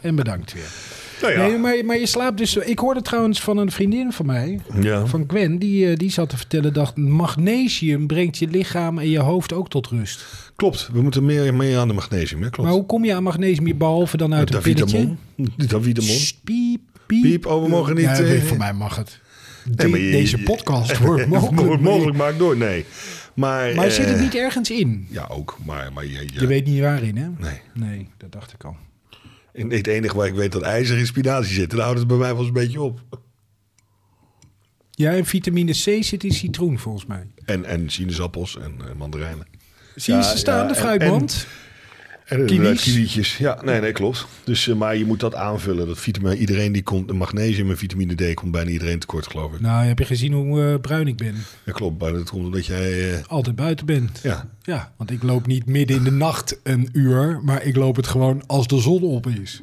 [SPEAKER 1] En bedankt weer.
[SPEAKER 4] nou ja.
[SPEAKER 1] Nee, maar, maar je slaapt dus... Ik hoorde trouwens van een vriendin van mij,
[SPEAKER 4] Ja.
[SPEAKER 1] van Gwen... Die, eh, die zat te vertellen dat magnesium brengt je lichaam en je hoofd ook tot rust.
[SPEAKER 4] Klopt, we moeten meer, meer aan de magnesium. Hè? Klopt.
[SPEAKER 1] Maar hoe kom je aan magnesium, behalve dan uit een pilletje?
[SPEAKER 4] Davidamon. Davidamon.
[SPEAKER 1] Sst, Piep, piep.
[SPEAKER 4] Piep, oh, we mogen niet,
[SPEAKER 1] Ja,
[SPEAKER 4] eh,
[SPEAKER 1] weet- voor mij mag het. De-
[SPEAKER 4] maar je-
[SPEAKER 1] deze
[SPEAKER 4] je-
[SPEAKER 1] podcast wordt mogelijk.
[SPEAKER 4] Wordt mogelijk maakt door, nee. Maar,
[SPEAKER 1] Maar zit het
[SPEAKER 4] eh,
[SPEAKER 1] niet ergens in?
[SPEAKER 4] Ja, ook. Maar, maar je, je-
[SPEAKER 1] Je weet niet waarin, hè?
[SPEAKER 4] Nee.
[SPEAKER 1] Nee, dat dacht ik al.
[SPEAKER 4] En het enige waar ik weet dat ijzer in spinazie zit, dan houdt het bij mij wel eens een beetje op.
[SPEAKER 1] Ja, en vitamine C zit in citroen, volgens mij.
[SPEAKER 4] En, en sinaasappels en, eh, mandarijnen.
[SPEAKER 1] Zie je
[SPEAKER 4] Ja,
[SPEAKER 1] ze staan,
[SPEAKER 4] ja,
[SPEAKER 1] de
[SPEAKER 4] en-
[SPEAKER 1] fruitmand?
[SPEAKER 4] En inderdaad
[SPEAKER 1] Kiwis.
[SPEAKER 4] kiwietjes. Ja, nee, nee, klopt. Dus, eh, maar je moet dat aanvullen. Dat vitamine, iedereen die komt, magnesium en vitamine D komt bijna iedereen tekort, geloof ik.
[SPEAKER 1] Nou, heb je gezien hoe eh, bruin ik ben?
[SPEAKER 4] Ja, klopt, maar dat komt omdat jij... eh,
[SPEAKER 1] Altijd buiten bent.
[SPEAKER 4] ja,
[SPEAKER 1] Ja, want ik loop niet midden in de nacht een uur, maar ik loop het gewoon als de zon op is.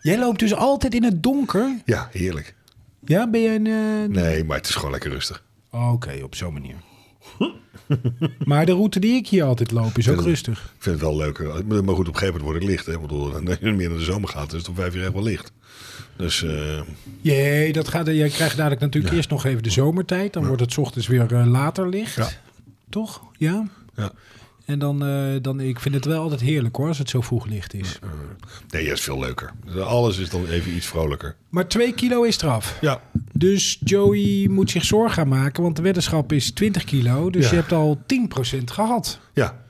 [SPEAKER 1] Jij loopt dus altijd in het donker?
[SPEAKER 4] ja, heerlijk.
[SPEAKER 1] Ja, ben jij een... eh,
[SPEAKER 4] Nee, maar het is gewoon lekker rustig.
[SPEAKER 1] Oké, op zo'n manier. maar de route die ik hier altijd loop is ook
[SPEAKER 4] Ja.
[SPEAKER 1] rustig.
[SPEAKER 4] Ik vind het wel leuker. Maar goed, op een gegeven moment wordt het licht. Hè? Want als je meer naar de zomer gaat, is het om vijf uur echt wel licht. Dus eh,
[SPEAKER 1] Jee, dat gaat, jij krijgt dadelijk natuurlijk eerst nog even de zomertijd. Dan wordt het 's ochtends weer eh, later licht.
[SPEAKER 4] Ja.
[SPEAKER 1] Toch? Ja?
[SPEAKER 4] ja.
[SPEAKER 1] En dan, eh, dan, ik vind het wel altijd heerlijk hoor, als het zo vroeg licht is.
[SPEAKER 4] Nee, ja, is veel leuker. Alles is dan even iets vrolijker.
[SPEAKER 1] Maar 2 kilo is eraf.
[SPEAKER 4] Ja,
[SPEAKER 1] Dus Joey moet zich zorgen gaan maken, want de weddenschap is 20 kilo. Dus
[SPEAKER 4] Ja.
[SPEAKER 1] je hebt al 10% gehad.
[SPEAKER 4] ja.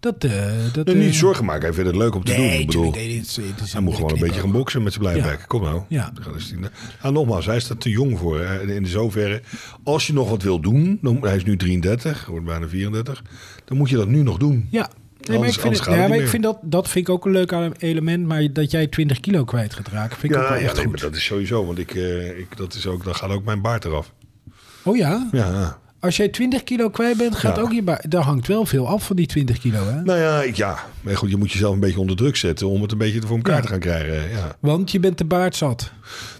[SPEAKER 1] Dat, eh dat
[SPEAKER 4] En
[SPEAKER 1] eh,
[SPEAKER 4] niet zorgen maken. Hij vindt het leuk om te
[SPEAKER 1] nee,
[SPEAKER 4] doen. Ik bedoel,
[SPEAKER 1] tuurlijk, nee, dit is- dit is
[SPEAKER 4] hij moet gewoon een beetje
[SPEAKER 1] knipoog.
[SPEAKER 4] gaan boksen met zijn blije
[SPEAKER 1] Ja.
[SPEAKER 4] bek. Kom nou.
[SPEAKER 1] Ja.
[SPEAKER 4] Dat is die- nou, nogmaals, hij staat te jong voor. hè. In in zoverre, als je nog wat wil doen, dan, hij is nu 33, wordt bijna 34, dan moet je dat nu nog doen.
[SPEAKER 1] Ja. Nee, maar
[SPEAKER 4] Anders-
[SPEAKER 1] ik
[SPEAKER 4] anders
[SPEAKER 1] vind, het,
[SPEAKER 4] gaat het
[SPEAKER 1] ja,
[SPEAKER 4] niet
[SPEAKER 1] maar ik
[SPEAKER 4] meer.
[SPEAKER 1] vind dat, dat vind ik ook een leuk ale- element. Maar dat jij 20 kilo kwijt gaat raken, vind ik ook
[SPEAKER 4] Ja,
[SPEAKER 1] wel
[SPEAKER 4] ja
[SPEAKER 1] echt
[SPEAKER 4] nee,
[SPEAKER 1] goed.
[SPEAKER 4] maar dat is sowieso. Want ik, eh, ik, dat is ook, dan gaat ook mijn baard eraf.
[SPEAKER 1] Oh ja?
[SPEAKER 4] Ja,
[SPEAKER 1] Als jij 20 kilo kwijt bent, gaat
[SPEAKER 4] Ja.
[SPEAKER 1] ook je... ba- Daar hangt wel veel af van die 20 kilo, hè?
[SPEAKER 4] Nou ja, ik, ja. Maar goed, je moet jezelf een beetje onder druk zetten om het een beetje voor elkaar
[SPEAKER 1] Ja.
[SPEAKER 4] te gaan krijgen. Ja.
[SPEAKER 1] Want je bent de baard zat.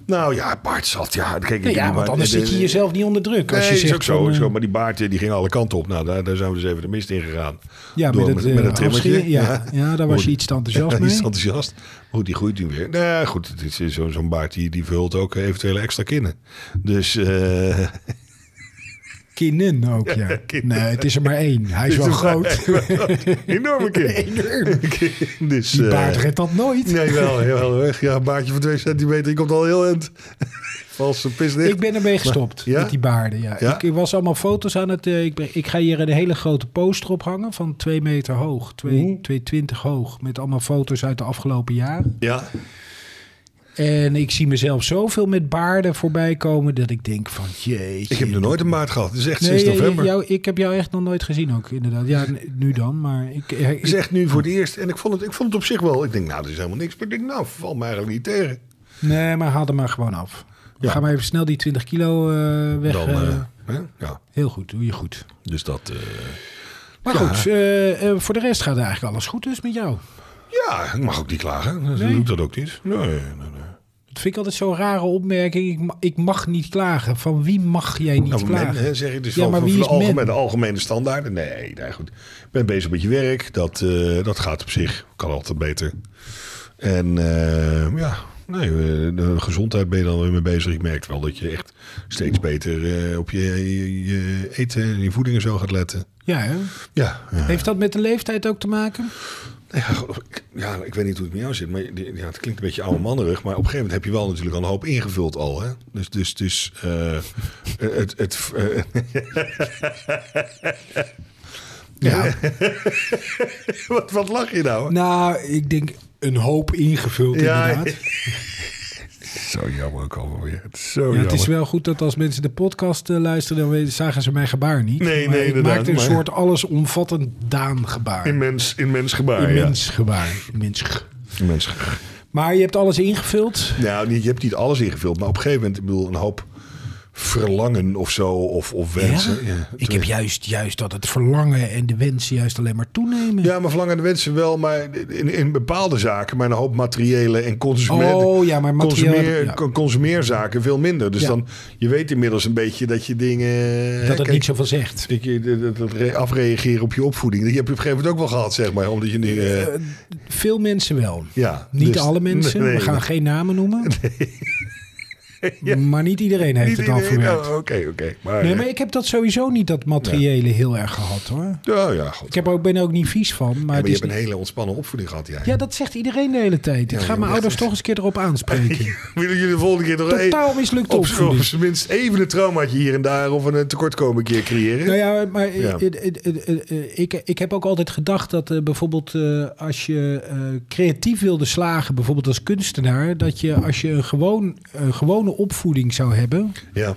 [SPEAKER 4] Nou ja, baard zat. Ja, kijk, ik
[SPEAKER 1] Nee, ja,
[SPEAKER 4] bedoel,
[SPEAKER 1] want
[SPEAKER 4] maar-
[SPEAKER 1] anders
[SPEAKER 4] de-
[SPEAKER 1] zit je
[SPEAKER 4] de-
[SPEAKER 1] jezelf niet onder druk.
[SPEAKER 4] Nee,
[SPEAKER 1] als je
[SPEAKER 4] is
[SPEAKER 1] zegt
[SPEAKER 4] ook zo,
[SPEAKER 1] van,
[SPEAKER 4] is
[SPEAKER 1] eh,
[SPEAKER 4] zo. Maar die baard eh, die ging alle kanten op. Nou, daar, daar zijn we dus even de mist in gegaan.
[SPEAKER 1] Ja,
[SPEAKER 4] Door
[SPEAKER 1] met het, eh,
[SPEAKER 4] trimmertje.
[SPEAKER 1] afscheren, ja. Ja, daar was je
[SPEAKER 4] Goed.
[SPEAKER 1] iets te enthousiast
[SPEAKER 4] Iets
[SPEAKER 1] mee.
[SPEAKER 4] te enthousiast. Maar Goed, die groeit nu weer. Nou ja, goed, het is, eh, zo- zo'n baard die, die vult ook eh, eventuele extra kinnen. Dus eh,
[SPEAKER 1] Kinnen ook, ja.
[SPEAKER 4] kinnen.
[SPEAKER 1] Nee, het is er maar één. Hij is
[SPEAKER 4] Het
[SPEAKER 1] wel
[SPEAKER 4] is er maar
[SPEAKER 1] groot.
[SPEAKER 4] enorme kinnen.
[SPEAKER 1] Enorm.
[SPEAKER 4] dus,
[SPEAKER 1] Die
[SPEAKER 4] eh,
[SPEAKER 1] baard redt dat nooit.
[SPEAKER 4] Nee, wel, heel erg. Ja, een baardje van 2 centimeter, die komt al heel end. Valse pis dicht.
[SPEAKER 1] Ik ben ermee gestopt
[SPEAKER 4] ja?
[SPEAKER 1] met die baarden. Ja.
[SPEAKER 4] Ja?
[SPEAKER 1] Ik, ik was allemaal foto's aan het. eh, ik, ben- ik ga hier een hele grote poster op hangen van 2 meter hoog,
[SPEAKER 4] Mhm.
[SPEAKER 1] 2,20 hoog. Met allemaal foto's uit de afgelopen jaren.
[SPEAKER 4] Ja,
[SPEAKER 1] En ik zie mezelf zoveel met baarden voorbij komen dat ik denk van jeetje.
[SPEAKER 4] ik heb nog nooit een baard gehad. Het is echt sinds
[SPEAKER 1] Nee,
[SPEAKER 4] november.
[SPEAKER 1] jou- ik heb jou echt nog nooit gezien ook, inderdaad. Ja, n- nu dan, maar ik... eh, ik-
[SPEAKER 4] Het is echt nu voor het eerst. En ik vond, het, ik vond het op zich wel. Ik denk, nou, dat is helemaal niks. Maar ik denk, nou, val me eigenlijk niet tegen.
[SPEAKER 1] nee, maar haal er maar gewoon af.
[SPEAKER 4] Ja.
[SPEAKER 1] Ga maar even snel die 20 kilo eh, weg.
[SPEAKER 4] Dan,
[SPEAKER 1] eh,
[SPEAKER 4] eh, hè? ja,
[SPEAKER 1] heel goed, doe je goed.
[SPEAKER 4] dus dat... eh,
[SPEAKER 1] Maar goed, eh, eh, voor de rest gaat eigenlijk alles goed dus met jou.
[SPEAKER 4] ja, ik mag ook niet klagen. Dan
[SPEAKER 1] Nee.
[SPEAKER 4] doe ik dat ook niet. Nee, nee, nee.
[SPEAKER 1] Dat vind ik altijd zo'n rare opmerking. Ik, ma- ik mag niet klagen. Van wie mag jij niet
[SPEAKER 4] Nou, men,
[SPEAKER 1] klagen?
[SPEAKER 4] hè, zeg ik dus
[SPEAKER 1] Ja,
[SPEAKER 4] wel
[SPEAKER 1] maar
[SPEAKER 4] van
[SPEAKER 1] wie
[SPEAKER 4] de
[SPEAKER 1] is men?
[SPEAKER 4] algemene, de algemene standaarden. Nee, nee, goed. Ik ben bezig met je werk. Dat, eh, dat gaat op zich. Kan altijd beter. En eh, ja, nee, eh, de gezondheid ben je dan weer mee bezig. Ik merk wel dat je echt steeds beter eh, op je, je, je eten en je voeding en zo gaat letten.
[SPEAKER 1] Ja, hè?
[SPEAKER 4] Ja, ja.
[SPEAKER 1] Heeft dat met de leeftijd ook te maken?
[SPEAKER 4] Ja, goed, ik- ja, ik weet niet hoe het met jou zit, maar die- ja, het klinkt een beetje oude mannerig. Maar op een gegeven moment heb je wel natuurlijk al een hoop ingevuld al. Hè? Dus, dus, dus eh, het... het eh,
[SPEAKER 1] Ja.
[SPEAKER 4] wat, wat lach je nou?
[SPEAKER 1] nou, ik denk een hoop ingevuld
[SPEAKER 4] Ja,
[SPEAKER 1] inderdaad.
[SPEAKER 4] ja. Zo jammer ook allemaal weer. Het is zo
[SPEAKER 1] Ja,
[SPEAKER 4] Oh, jammer.
[SPEAKER 1] het is wel goed dat als mensen de podcast eh, luisteren, dan we- zagen ze mijn gebaar niet.
[SPEAKER 4] Nee,
[SPEAKER 1] maar
[SPEAKER 4] nee,
[SPEAKER 1] ik
[SPEAKER 4] inderdaad,
[SPEAKER 1] maakte een
[SPEAKER 4] maar-
[SPEAKER 1] soort allesomvattend Daan gebaar.
[SPEAKER 4] Immens, immens gebaar,
[SPEAKER 1] Immens gebaar. Immens. ge-
[SPEAKER 4] ja. Immens gebaar.
[SPEAKER 1] Maar je hebt alles ingevuld.
[SPEAKER 4] Nou, niet- je hebt niet alles ingevuld, maar op een gegeven moment, ik bedoel, een hoop verlangen of zo, of, of wensen. Ja,
[SPEAKER 1] Ik
[SPEAKER 4] het-
[SPEAKER 1] heb juist, juist dat het verlangen en de wensen juist alleen maar toenemen.
[SPEAKER 4] ja, maar verlangen en wensen wel, maar in, in bepaalde zaken, maar een hoop materiële en consumer,
[SPEAKER 1] Oh, ja, maar materieel-
[SPEAKER 4] consumeer,
[SPEAKER 1] ja.
[SPEAKER 4] con- consumeerzaken veel minder. Dus
[SPEAKER 1] Ja.
[SPEAKER 4] dan, je weet inmiddels een beetje dat je dingen... hè,
[SPEAKER 1] dat het
[SPEAKER 4] kijk,
[SPEAKER 1] niet zoveel zegt.
[SPEAKER 4] Dat je dat, dat- dat re- afreageren op je opvoeding. Dat heb je op een gegeven moment ook wel gehad, zeg maar. Omdat je nu... eh,
[SPEAKER 1] Veel mensen wel.
[SPEAKER 4] ja,
[SPEAKER 1] Niet
[SPEAKER 4] dus-
[SPEAKER 1] alle mensen,
[SPEAKER 4] Nee,
[SPEAKER 1] we gaan
[SPEAKER 4] nee.
[SPEAKER 1] geen namen noemen. Maar niet iedereen heeft
[SPEAKER 4] Niet
[SPEAKER 1] het al
[SPEAKER 4] iedereen-
[SPEAKER 1] verwerkt.
[SPEAKER 4] oh, Oké, oké. Maar...
[SPEAKER 1] Nee, maar ik heb dat sowieso niet, dat materiële, heel erg gehad hoor.
[SPEAKER 4] Oh, Ja, ja, goed.
[SPEAKER 1] Ik heb er ook, ben er ook niet vies van. Maar,
[SPEAKER 4] Ja,
[SPEAKER 1] het
[SPEAKER 4] maar je
[SPEAKER 1] is
[SPEAKER 4] hebt een
[SPEAKER 1] niet-
[SPEAKER 4] hele ontspannen opvoeding gehad, jij.
[SPEAKER 1] Ja, dat zegt iedereen de hele tijd. Ik
[SPEAKER 4] Ja,
[SPEAKER 1] ga
[SPEAKER 4] ja,
[SPEAKER 1] mijn
[SPEAKER 4] echt.
[SPEAKER 1] ouders toch eens een keer erop aanspreken.
[SPEAKER 4] Willen jullie de volgende keer nog
[SPEAKER 1] Totaal dus.
[SPEAKER 4] even-
[SPEAKER 1] mislukte
[SPEAKER 4] op,
[SPEAKER 1] opvoeding.
[SPEAKER 4] op zijn minst even een traumaatje hier en daar of een eh, tekortkoming keer creëren?
[SPEAKER 1] Nou ja, maar eh,
[SPEAKER 4] Ja.
[SPEAKER 1] eh, eh, eh, eh, ik, ik heb ook altijd gedacht dat eh, bijvoorbeeld eh, als je eh, creatief wilde slagen, bijvoorbeeld als kunstenaar, dat je als je een, gewoon, een gewone opvoeding zou hebben,
[SPEAKER 4] ja.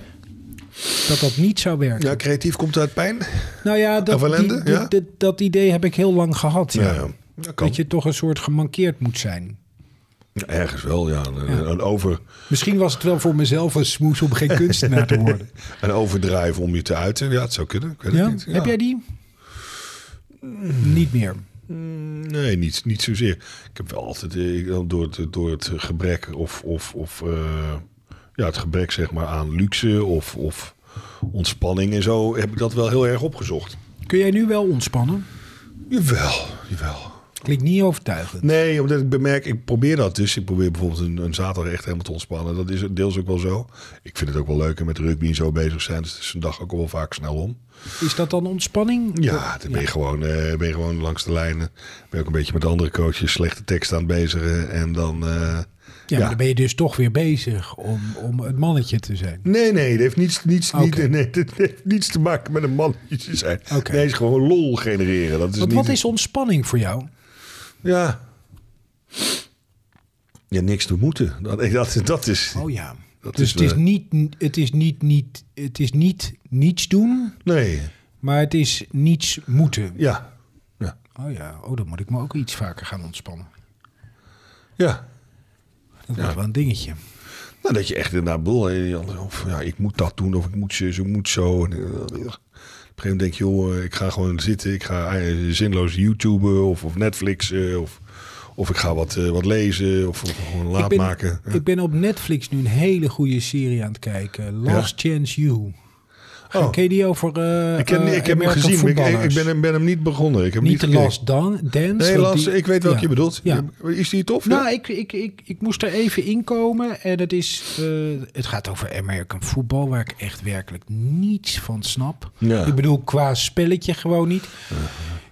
[SPEAKER 1] dat dat niet zou werken.
[SPEAKER 4] Ja, creatief komt uit pijn.
[SPEAKER 1] nou ja, dat,
[SPEAKER 4] Of ellende,
[SPEAKER 1] die- die-
[SPEAKER 4] ja?
[SPEAKER 1] dat, dat idee heb ik heel lang gehad. Ja.
[SPEAKER 4] Ja, ja. Dat kan.
[SPEAKER 1] Dat je toch een soort gemankeerd moet zijn.
[SPEAKER 4] Ergens wel, ja. Een, een over,
[SPEAKER 1] Misschien was het wel voor mezelf een smoes om geen kunstenaar te worden.
[SPEAKER 4] een overdrijf om je te uiten. Ja, het zou kunnen. Ik weet het
[SPEAKER 1] Ja?
[SPEAKER 4] niet. Ja.
[SPEAKER 1] Heb jij die? Niet meer.
[SPEAKER 4] Mm, Nee, niet, niet zozeer. Ik heb wel altijd eh, ik- door het, door het gebrek of, of, of eh, ja, het gebrek zeg maar aan luxe of, of ontspanning en zo heb ik dat wel heel erg opgezocht.
[SPEAKER 1] Kun jij nu wel ontspannen?
[SPEAKER 4] Jawel, jawel.
[SPEAKER 1] Klinkt niet overtuigend.
[SPEAKER 4] Nee, omdat ik bemerk, ik probeer dat dus. Ik probeer bijvoorbeeld een, een zaterdag echt helemaal te ontspannen. Dat is deels ook wel zo. Ik vind het ook wel leuk en met rugby en zo bezig zijn. Dus het is een dag ook wel vaak snel om.
[SPEAKER 1] Is dat dan ontspanning?
[SPEAKER 4] Ja, dan ben je, Gewoon, eh, ben je gewoon langs de lijnen. Ben je ook een beetje met andere coaches slechte tekst aan het bezigen. En dan... eh,
[SPEAKER 1] Ja, maar dan ben je dus toch weer bezig om, om het mannetje te zijn.
[SPEAKER 4] Nee, nee, het heeft niets, niets,
[SPEAKER 1] Ah, Oké.
[SPEAKER 4] niet, nee, het heeft niets te maken met een mannetje te zijn.
[SPEAKER 1] Oké.
[SPEAKER 4] Nee, het is gewoon lol genereren. Dat is
[SPEAKER 1] Want
[SPEAKER 4] niet,
[SPEAKER 1] wat is ontspanning voor jou?
[SPEAKER 4] Ja. Ja, niks te moeten. Dat, dat, dat is...
[SPEAKER 1] Oh ja.
[SPEAKER 4] Dat
[SPEAKER 1] dus
[SPEAKER 4] is,
[SPEAKER 1] het is
[SPEAKER 4] eh,
[SPEAKER 1] niet, het is niet, niet, het is niet niets doen,
[SPEAKER 4] Nee,
[SPEAKER 1] maar het is niets moeten.
[SPEAKER 4] ja. Ja.
[SPEAKER 1] Oh ja, oh, dan moet ik me ook iets vaker gaan ontspannen.
[SPEAKER 4] ja.
[SPEAKER 1] Dat wordt wel een dingetje.
[SPEAKER 4] Nou, dat je echt inderdaad boel, eh, of ja, ik moet dat doen, of ik moet zo, zo moet zo. En, eh, op een gegeven moment denk je, joh, eh, ik ga gewoon zitten, ik ga eh, zinloos YouTuben of, of Netflix of, of ik ga wat, eh, wat lezen of, of gewoon laat
[SPEAKER 1] ik, ben,
[SPEAKER 4] maken. Ja.
[SPEAKER 1] ik ben op Netflix nu een hele goede serie aan het kijken. Last Chance You.
[SPEAKER 4] Oh.
[SPEAKER 1] Ken je die over eh,
[SPEAKER 4] Ik,
[SPEAKER 1] eh,
[SPEAKER 4] ken, ik heb hem
[SPEAKER 1] American
[SPEAKER 4] gezien, maar ik, ik- ik
[SPEAKER 1] voetballers?
[SPEAKER 4] ben, hem- ben hem niet begonnen. Ik heb hem
[SPEAKER 1] Niet de
[SPEAKER 4] gekeken.
[SPEAKER 1] Last Dan- Dance.
[SPEAKER 4] Nee,
[SPEAKER 1] want
[SPEAKER 4] Last,
[SPEAKER 1] die-
[SPEAKER 4] ik weet welke
[SPEAKER 1] ja.
[SPEAKER 4] je bedoelt.
[SPEAKER 1] Ja.
[SPEAKER 4] Is die tof?
[SPEAKER 1] Nou,
[SPEAKER 4] ja?
[SPEAKER 1] ik, ik, ik, ik moest er even inkomen. En het, is, eh, het gaat over American voetbal, waar ik echt werkelijk niets van snap.
[SPEAKER 4] Ja.
[SPEAKER 1] Ik bedoel, qua spelletje gewoon niet.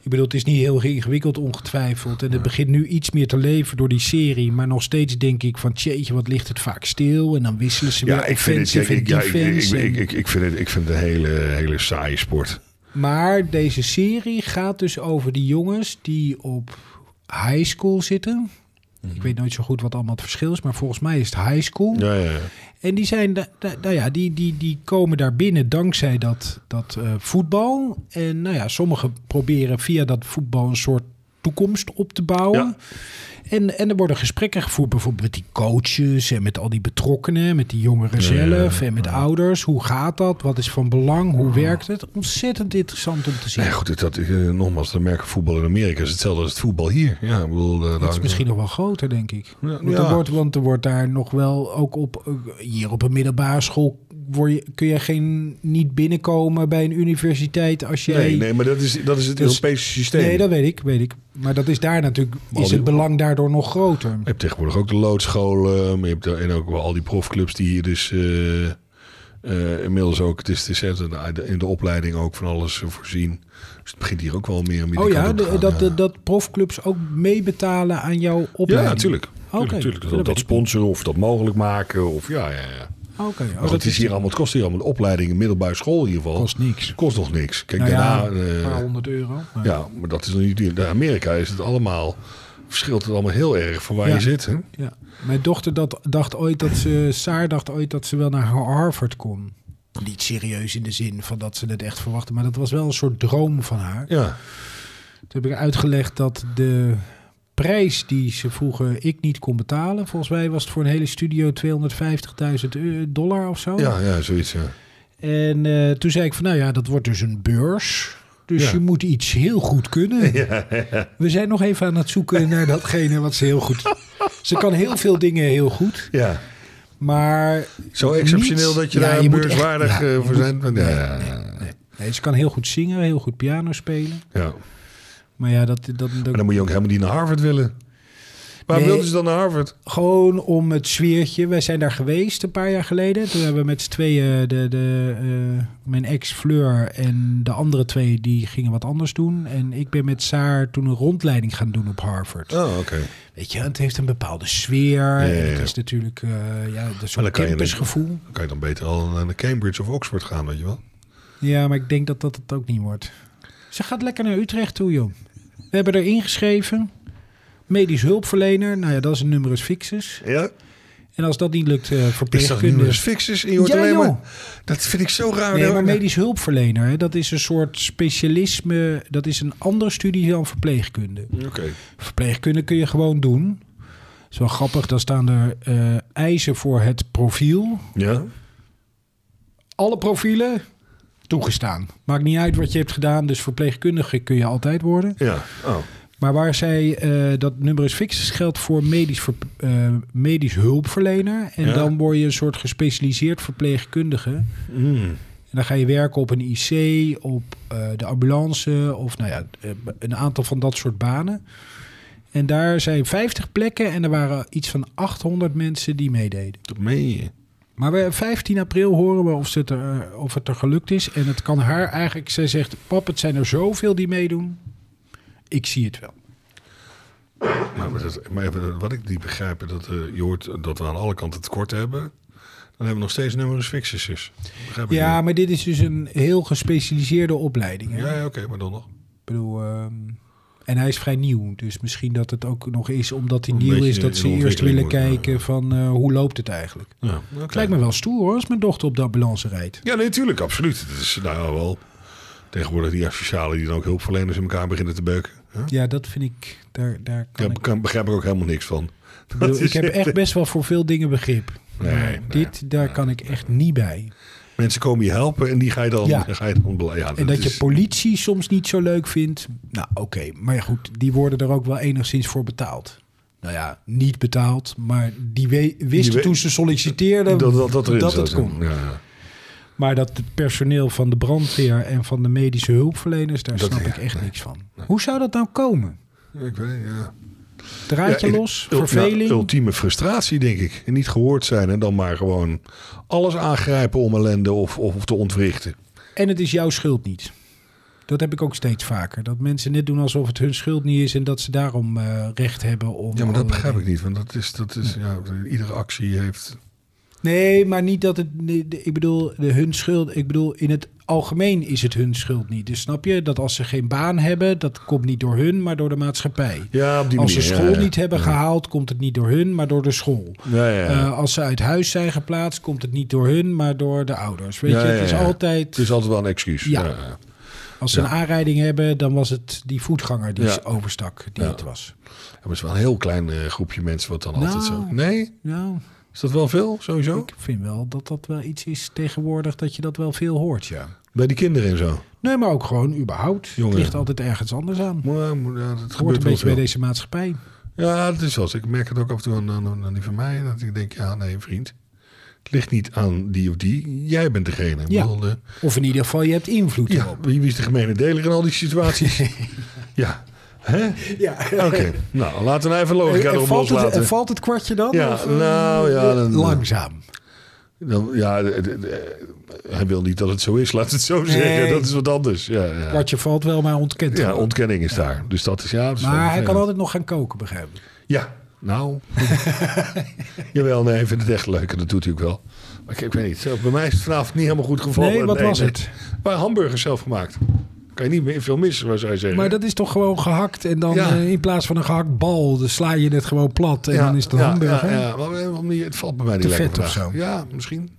[SPEAKER 1] Ik bedoel, het is niet heel ingewikkeld, ongetwijfeld. En het begint nu iets meer te leven door die serie. Maar nog steeds denk ik van, tjeetje, wat ligt het vaak stil. En dan wisselen ze
[SPEAKER 4] ja,
[SPEAKER 1] weer
[SPEAKER 4] ik vind, het, ja,
[SPEAKER 1] offensive en
[SPEAKER 4] ik, ja, ik, ik,
[SPEAKER 1] defense.
[SPEAKER 4] ik,
[SPEAKER 1] en-
[SPEAKER 4] ik, ik vind het, ik vind het een hele, hele saaie sport.
[SPEAKER 1] Maar deze serie gaat dus over die jongens die op high school zitten. Ik weet nooit zo goed wat allemaal het verschil is, maar volgens mij is het high school.
[SPEAKER 4] Ja, ja.
[SPEAKER 1] En die, zijn, da- da- nou ja, die, die, die komen daar binnen dankzij dat, dat eh, voetbal. En nou ja, sommigen proberen via dat voetbal een soort toekomst op te bouwen.
[SPEAKER 4] Ja.
[SPEAKER 1] En, en er worden gesprekken gevoerd bijvoorbeeld met die coaches en met al die betrokkenen, met die jongeren zelf en met ouders. Hoe gaat dat? Wat is van belang? Hoe werkt het? Ontzettend interessant om te zien.
[SPEAKER 4] Nee, goed, dat, dat, eh, nogmaals, de merken voetbal in Amerika is hetzelfde als het voetbal hier. Ja, ik bedoel, eh,
[SPEAKER 1] Dat
[SPEAKER 4] daar-
[SPEAKER 1] is misschien nog wel groter, denk ik.
[SPEAKER 4] Ja,
[SPEAKER 1] want,
[SPEAKER 4] ja.
[SPEAKER 1] Er wordt, want er wordt daar nog wel ook op. eh, Hier op een middelbare school word je, kun je geen, niet binnenkomen bij een universiteit als jij.
[SPEAKER 4] Nee, nee, maar dat is, dat is het
[SPEAKER 1] Dus-
[SPEAKER 4] Europese systeem.
[SPEAKER 1] Nee, dat weet ik, weet ik. Maar dat is daar natuurlijk.
[SPEAKER 4] Maar
[SPEAKER 1] Is
[SPEAKER 4] die-
[SPEAKER 1] het belang daardoor nog groter?
[SPEAKER 4] Je hebt tegenwoordig ook de loodscholen. Maar je hebt daar- en ook wel al die profclubs die hier dus eh, eh, inmiddels ook... Het is, het is echt een- in de opleiding ook van alles eh, voorzien. Dus het begint hier ook wel meer en meer
[SPEAKER 1] Oh
[SPEAKER 4] die
[SPEAKER 1] ja,
[SPEAKER 4] kant op te
[SPEAKER 1] de-
[SPEAKER 4] gaan,
[SPEAKER 1] dat,
[SPEAKER 4] ja.
[SPEAKER 1] dat, dat profclubs ook meebetalen aan jouw
[SPEAKER 4] Ja,
[SPEAKER 1] opleiding.
[SPEAKER 4] natuurlijk.
[SPEAKER 1] Oké,
[SPEAKER 4] Tuurlijk, tuurlijk.
[SPEAKER 1] dat
[SPEAKER 4] Dat,
[SPEAKER 1] weet
[SPEAKER 4] dat
[SPEAKER 1] ik
[SPEAKER 4] sponsoren of dat mogelijk maken. Of, ja, ja, ja.
[SPEAKER 1] Oké, oh,
[SPEAKER 4] Maar goed, het, is hier allemaal, het kost hier allemaal een opleiding, een middelbare school in ieder geval.
[SPEAKER 1] Kost niks.
[SPEAKER 4] Kost nog niks. Kijk,
[SPEAKER 1] Nou ja,
[SPEAKER 4] daarna... eh,
[SPEAKER 1] een paar honderd euro. Maar-
[SPEAKER 4] ja, maar dat is nog niet... In Amerika is het allemaal... Verschilt het allemaal heel erg van waar
[SPEAKER 1] Ja.
[SPEAKER 4] je zit. Hè?
[SPEAKER 1] Ja. Mijn dochter dat, dacht ooit dat ze, Saar dacht ooit dat ze wel naar Harvard kon. Niet serieus in de zin van dat ze het echt verwachtte, maar dat was wel een soort droom van haar.
[SPEAKER 4] Ja.
[SPEAKER 1] Toen heb ik uitgelegd dat de prijs die ze vroegen ik niet kon betalen. Volgens mij was het voor een hele studio 250.000 eu- dollar of zo.
[SPEAKER 4] Ja, ja, zoiets. Ja.
[SPEAKER 1] En eh, toen zei ik van, nou ja, dat wordt dus een beurs. Dus
[SPEAKER 4] Ja.
[SPEAKER 1] je moet iets heel goed kunnen. We zijn nog even aan het zoeken naar datgene wat ze heel goed... Ze kan heel veel dingen heel goed,
[SPEAKER 4] ja.
[SPEAKER 1] maar...
[SPEAKER 4] Zo exceptioneel
[SPEAKER 1] niets-
[SPEAKER 4] dat je
[SPEAKER 1] Ja,
[SPEAKER 4] daar
[SPEAKER 1] je moet echt-
[SPEAKER 4] beurswaardig
[SPEAKER 1] ja,
[SPEAKER 4] eh,
[SPEAKER 1] je
[SPEAKER 4] voor
[SPEAKER 1] moet-
[SPEAKER 4] bent. Ja, ja,
[SPEAKER 1] Nee, ze kan heel goed zingen, heel goed piano spelen.
[SPEAKER 4] ja. Maar
[SPEAKER 1] Maar ja, dat, dat, dat-
[SPEAKER 4] dan moet je ook helemaal niet naar Harvard willen. Waar
[SPEAKER 1] Nee.
[SPEAKER 4] wilden ze dan naar Harvard?
[SPEAKER 1] gewoon om het sfeertje. Wij zijn daar geweest een paar jaar geleden. Toen hebben we met z'n tweeën, de, de, eh, mijn ex Fleur en de andere twee, die gingen wat anders doen. En ik ben met Saar toen een rondleiding gaan doen op Harvard.
[SPEAKER 4] Oh, oké.
[SPEAKER 1] Weet je, het heeft een bepaalde sfeer. En het
[SPEAKER 4] ja.
[SPEAKER 1] is natuurlijk eh, ja, dat is
[SPEAKER 4] Maar
[SPEAKER 1] zo'n
[SPEAKER 4] dan kan je niet-
[SPEAKER 1] campusgevoel.
[SPEAKER 4] Dan kan je dan beter al naar Cambridge of Oxford gaan, weet je wel.
[SPEAKER 1] Ja, maar ik denk dat dat het ook niet wordt. Ze gaat lekker naar Utrecht toe, joh. We hebben er ingeschreven. Medisch hulpverlener. Nou ja, dat is een numerus fixus.
[SPEAKER 4] Ja?
[SPEAKER 1] En als dat niet lukt, eh
[SPEAKER 4] Is dat nu
[SPEAKER 1] verpleegkundige.
[SPEAKER 4] eens fixes? En je hoort
[SPEAKER 1] Ja,
[SPEAKER 4] alleen
[SPEAKER 1] joh.
[SPEAKER 4] maar... Dat vind ik zo raar.
[SPEAKER 1] Nee,
[SPEAKER 4] hoor.
[SPEAKER 1] maar medisch hulpverlener, hè, dat is een soort specialisme. Dat is een andere studie dan verpleegkunde.
[SPEAKER 4] Oké.
[SPEAKER 1] Verpleegkunde kun je gewoon doen. Dat is wel grappig, dan staan er eh, eisen voor het profiel.
[SPEAKER 4] Ja?
[SPEAKER 1] Alle profielen toegestaan. Maakt niet uit wat je hebt gedaan, dus verpleegkundige kun je altijd worden.
[SPEAKER 4] Ja. Oh.
[SPEAKER 1] Maar waar zij eh, dat numerus fixus geldt voor medisch, verp- eh, medisch hulpverlener. En
[SPEAKER 4] Ja.
[SPEAKER 1] dan word je een soort gespecialiseerd verpleegkundige.
[SPEAKER 4] Mm.
[SPEAKER 1] En dan ga je werken op een IC, op eh, de ambulance of nou ja, eh, een aantal van dat soort banen. En daar zijn 50 plekken en er waren iets van 800 mensen die meededen.
[SPEAKER 4] Dat meen je.
[SPEAKER 1] Maar we, 15 april horen we of, ze het er, eh, of het er gelukt is. En het kan haar eigenlijk, zij zegt, pap, het zijn er zoveel die meedoen. Ik zie het wel.
[SPEAKER 4] Maar, maar dat- maar even, wat ik niet begrijp, is dat eh, je hoort dat we aan alle kanten tekort hebben. Dan hebben we nog steeds nummers fixes. dus. Begrijp ik
[SPEAKER 1] Ja,
[SPEAKER 4] niet.
[SPEAKER 1] maar dit is dus een heel gespecialiseerde opleiding. Hè?
[SPEAKER 4] Ja, ja, oké, maar dan nog.
[SPEAKER 1] Ik bedoel, ehm, en hij is vrij nieuw. Dus misschien dat het ook nog is, omdat hij
[SPEAKER 4] Een
[SPEAKER 1] nieuw
[SPEAKER 4] beetje
[SPEAKER 1] is, dat
[SPEAKER 4] in
[SPEAKER 1] ze eerst
[SPEAKER 4] ontwikkeling
[SPEAKER 1] willen
[SPEAKER 4] moet,
[SPEAKER 1] kijken
[SPEAKER 4] ja.
[SPEAKER 1] van eh, hoe loopt het eigenlijk.
[SPEAKER 4] Ja, oké.
[SPEAKER 1] Het lijkt me wel stoer hoor, als mijn dochter op de ambulance rijdt.
[SPEAKER 4] Ja, nee, natuurlijk, absoluut. Het is nou ja, wel tegenwoordig die asocialen die dan ook hulpverleners in elkaar beginnen te beuken. Huh?
[SPEAKER 1] Ja, dat vind ik, daar, daar kan
[SPEAKER 4] Daar
[SPEAKER 1] ik.
[SPEAKER 4] kan- begrijp ik ook helemaal niks van.
[SPEAKER 1] Ik, bedoel,
[SPEAKER 4] Dat is
[SPEAKER 1] ik heb echt best wel voor veel dingen begrip.
[SPEAKER 4] Nee,
[SPEAKER 1] Maar
[SPEAKER 4] nee,
[SPEAKER 1] dit, daar kan ik echt niet bij.
[SPEAKER 4] Mensen komen je helpen en die ga je dan,
[SPEAKER 1] Ja.
[SPEAKER 4] ga je dan bela- ja,
[SPEAKER 1] En dat je
[SPEAKER 4] is-
[SPEAKER 1] politie soms niet zo leuk vindt. Nou, oké. Maar ja, goed, die worden er ook wel enigszins voor betaald. Nou ja, niet betaald, maar die we- wisten
[SPEAKER 4] weet-
[SPEAKER 1] toen ze solliciteerden
[SPEAKER 4] dat, dat, dat, erin zou
[SPEAKER 1] het
[SPEAKER 4] zijn.
[SPEAKER 1] kon.
[SPEAKER 4] Ja, ja.
[SPEAKER 1] Maar dat het personeel van de brandweer en van de medische hulpverleners, daar
[SPEAKER 4] Dat-
[SPEAKER 1] snap ik
[SPEAKER 4] ja,
[SPEAKER 1] echt niks van. Hoe zou dat nou komen?
[SPEAKER 4] Ik weet, ja.
[SPEAKER 1] Draadje
[SPEAKER 4] Ja,
[SPEAKER 1] los,
[SPEAKER 4] ul-
[SPEAKER 1] verveling.
[SPEAKER 4] ja, ultieme frustratie, denk ik. En niet gehoord zijn en dan maar gewoon alles aangrijpen om ellende of, of, of te ontwrichten.
[SPEAKER 1] En het is jouw schuld niet. Dat heb ik ook steeds vaker. Dat mensen net doen alsof het hun schuld niet is en dat ze daarom eh, recht hebben om. eh,
[SPEAKER 4] Ja, maar dat
[SPEAKER 1] allerlei
[SPEAKER 4] begrijp ik niet. Want dat is, dat is, ja, iedere actie heeft...
[SPEAKER 1] Nee, maar niet dat het. nee, de- ik bedoel, de, hun schuld. Ik bedoel, in het algemeen is het hun schuld niet. Dus snap je dat als ze geen baan hebben, dat komt niet door hun, maar door de maatschappij.
[SPEAKER 4] Ja, op die
[SPEAKER 1] Als ze
[SPEAKER 4] manier,
[SPEAKER 1] school
[SPEAKER 4] ja, ja.
[SPEAKER 1] niet hebben gehaald, komt het niet door hun, maar door de school.
[SPEAKER 4] Ja, ja, ja.
[SPEAKER 1] Eh, als ze uit huis zijn geplaatst, komt het niet door hun, maar door de ouders. Weet
[SPEAKER 4] Ja,
[SPEAKER 1] je, het
[SPEAKER 4] ja,
[SPEAKER 1] is
[SPEAKER 4] ja.
[SPEAKER 1] altijd.
[SPEAKER 4] Het is altijd wel een excuus.
[SPEAKER 1] Ja.
[SPEAKER 4] ja.
[SPEAKER 1] als ze een aanrijding hebben, dan was het die voetganger die
[SPEAKER 4] Ja.
[SPEAKER 1] ze overstak, die
[SPEAKER 4] Ja.
[SPEAKER 1] het was.
[SPEAKER 4] Ja, maar het is wel een heel klein eh, groepje mensen wat dan altijd zo...
[SPEAKER 1] Nou.
[SPEAKER 4] Nee?
[SPEAKER 1] Nou,
[SPEAKER 4] Is dat wel veel, sowieso?
[SPEAKER 1] ik vind wel dat dat wel iets is tegenwoordig dat je dat wel veel hoort, ja.
[SPEAKER 4] Bij die kinderen en zo.
[SPEAKER 1] Nee, maar ook gewoon überhaupt.
[SPEAKER 4] Jongen.
[SPEAKER 1] Het ligt altijd ergens anders aan. Het
[SPEAKER 4] Maar, maar, ja, dat
[SPEAKER 1] hoort
[SPEAKER 4] gebeurt
[SPEAKER 1] een
[SPEAKER 4] wel
[SPEAKER 1] beetje bij
[SPEAKER 4] veel.
[SPEAKER 1] deze maatschappij.
[SPEAKER 4] Ja, dat is wel zo. Ik merk het ook af en toe aan, aan, aan die van mij. Dat ik denk, ja, nee, vriend. Het ligt niet aan die of die. Jij bent degene. Ik
[SPEAKER 1] Ja.
[SPEAKER 4] bedoel, eh,
[SPEAKER 1] Of in ieder geval, je hebt invloed
[SPEAKER 4] ja
[SPEAKER 1] erop.
[SPEAKER 4] wie, wie is de gemene deler in al die situaties? ja. Hè?
[SPEAKER 1] Ja.
[SPEAKER 4] Oké. Nou, laten we nou even logica
[SPEAKER 1] En
[SPEAKER 4] erop
[SPEAKER 1] Eh, valt het,
[SPEAKER 4] loslaten.
[SPEAKER 1] en valt het kwartje dan?
[SPEAKER 4] Ja,
[SPEAKER 1] Of, eh,
[SPEAKER 4] nou ja, dan-
[SPEAKER 1] langzaam.
[SPEAKER 4] Dan, ja, de- de- de- hij wil niet dat het zo is. Laat het zo zeggen. Dat is wat anders. Ja, ja.
[SPEAKER 1] Kwartje valt wel, maar ontkent.
[SPEAKER 4] ja
[SPEAKER 1] het.
[SPEAKER 4] ontkenning is daar. Dus dat is ja. dat is wel-
[SPEAKER 1] maar hij
[SPEAKER 4] ja.
[SPEAKER 1] kan altijd nog gaan koken, begrijp ik.
[SPEAKER 4] Ja, nou. Jawel, nee, ik vind het echt leuk en dat doet hij ook wel. Maar ik, ik weet niet, zo, bij mij is het vanavond niet helemaal goed gevallen.
[SPEAKER 1] Nee, wat was het?
[SPEAKER 4] Een paar hamburgers zelf gemaakt. Kan je niet meer veel missen, waar zou je zeggen.
[SPEAKER 1] Maar dat is toch gewoon gehakt. En dan
[SPEAKER 4] Ja.
[SPEAKER 1] eh, in plaats van een gehakt bal, dan sla je het gewoon plat. En
[SPEAKER 4] Ja,
[SPEAKER 1] dan is het een
[SPEAKER 4] ja,
[SPEAKER 1] hamburger.
[SPEAKER 4] Ja, ja, maar op een of andere manier, het valt bij mij niet
[SPEAKER 1] Te
[SPEAKER 4] lekker
[SPEAKER 1] vet of
[SPEAKER 4] vandaag.
[SPEAKER 1] zo.
[SPEAKER 4] Ja, misschien.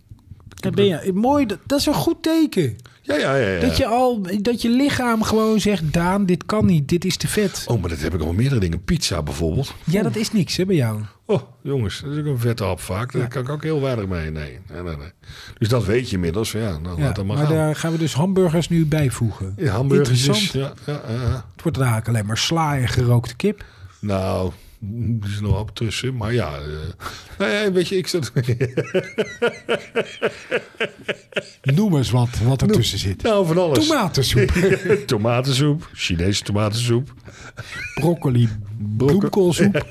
[SPEAKER 1] Dan ben je, mooi, dat, dat is een goed teken.
[SPEAKER 4] Ja, ja, ja. ja.
[SPEAKER 1] Dat, je al, dat je lichaam gewoon zegt, Daan, dit kan niet, dit is te vet.
[SPEAKER 4] Oh, maar dat heb ik al meerdere dingen. Pizza bijvoorbeeld.
[SPEAKER 1] Ja, dat is niks hè, bij jou.
[SPEAKER 4] Oh, jongens, dat is ook een vette hap vaak. Daar kan ik ook heel weinig mee. Nee, nee, nee, nee. Dus dat weet je inmiddels. Ja, nou,
[SPEAKER 1] Ja,
[SPEAKER 4] laat dat maar,
[SPEAKER 1] maar
[SPEAKER 4] gaan.
[SPEAKER 1] daar gaan we dus hamburgers nu bijvoegen.
[SPEAKER 4] Ja, hamburgertjes.
[SPEAKER 1] Interessant.
[SPEAKER 4] Ja, dus- ja, ja, ja.
[SPEAKER 1] Het wordt eigenlijk alleen maar sla en gerookte kip.
[SPEAKER 4] Nou, er is nog wel wat tussen. Maar ja, eh, nou ja, weet je, ik zat...
[SPEAKER 1] Noem eens wat, wat ertussen zit.
[SPEAKER 4] nou, van alles.
[SPEAKER 1] Tomatensoep,
[SPEAKER 4] tomatensoep, Chinese tomatensoep.
[SPEAKER 1] broccoli, bloemkoolsoep.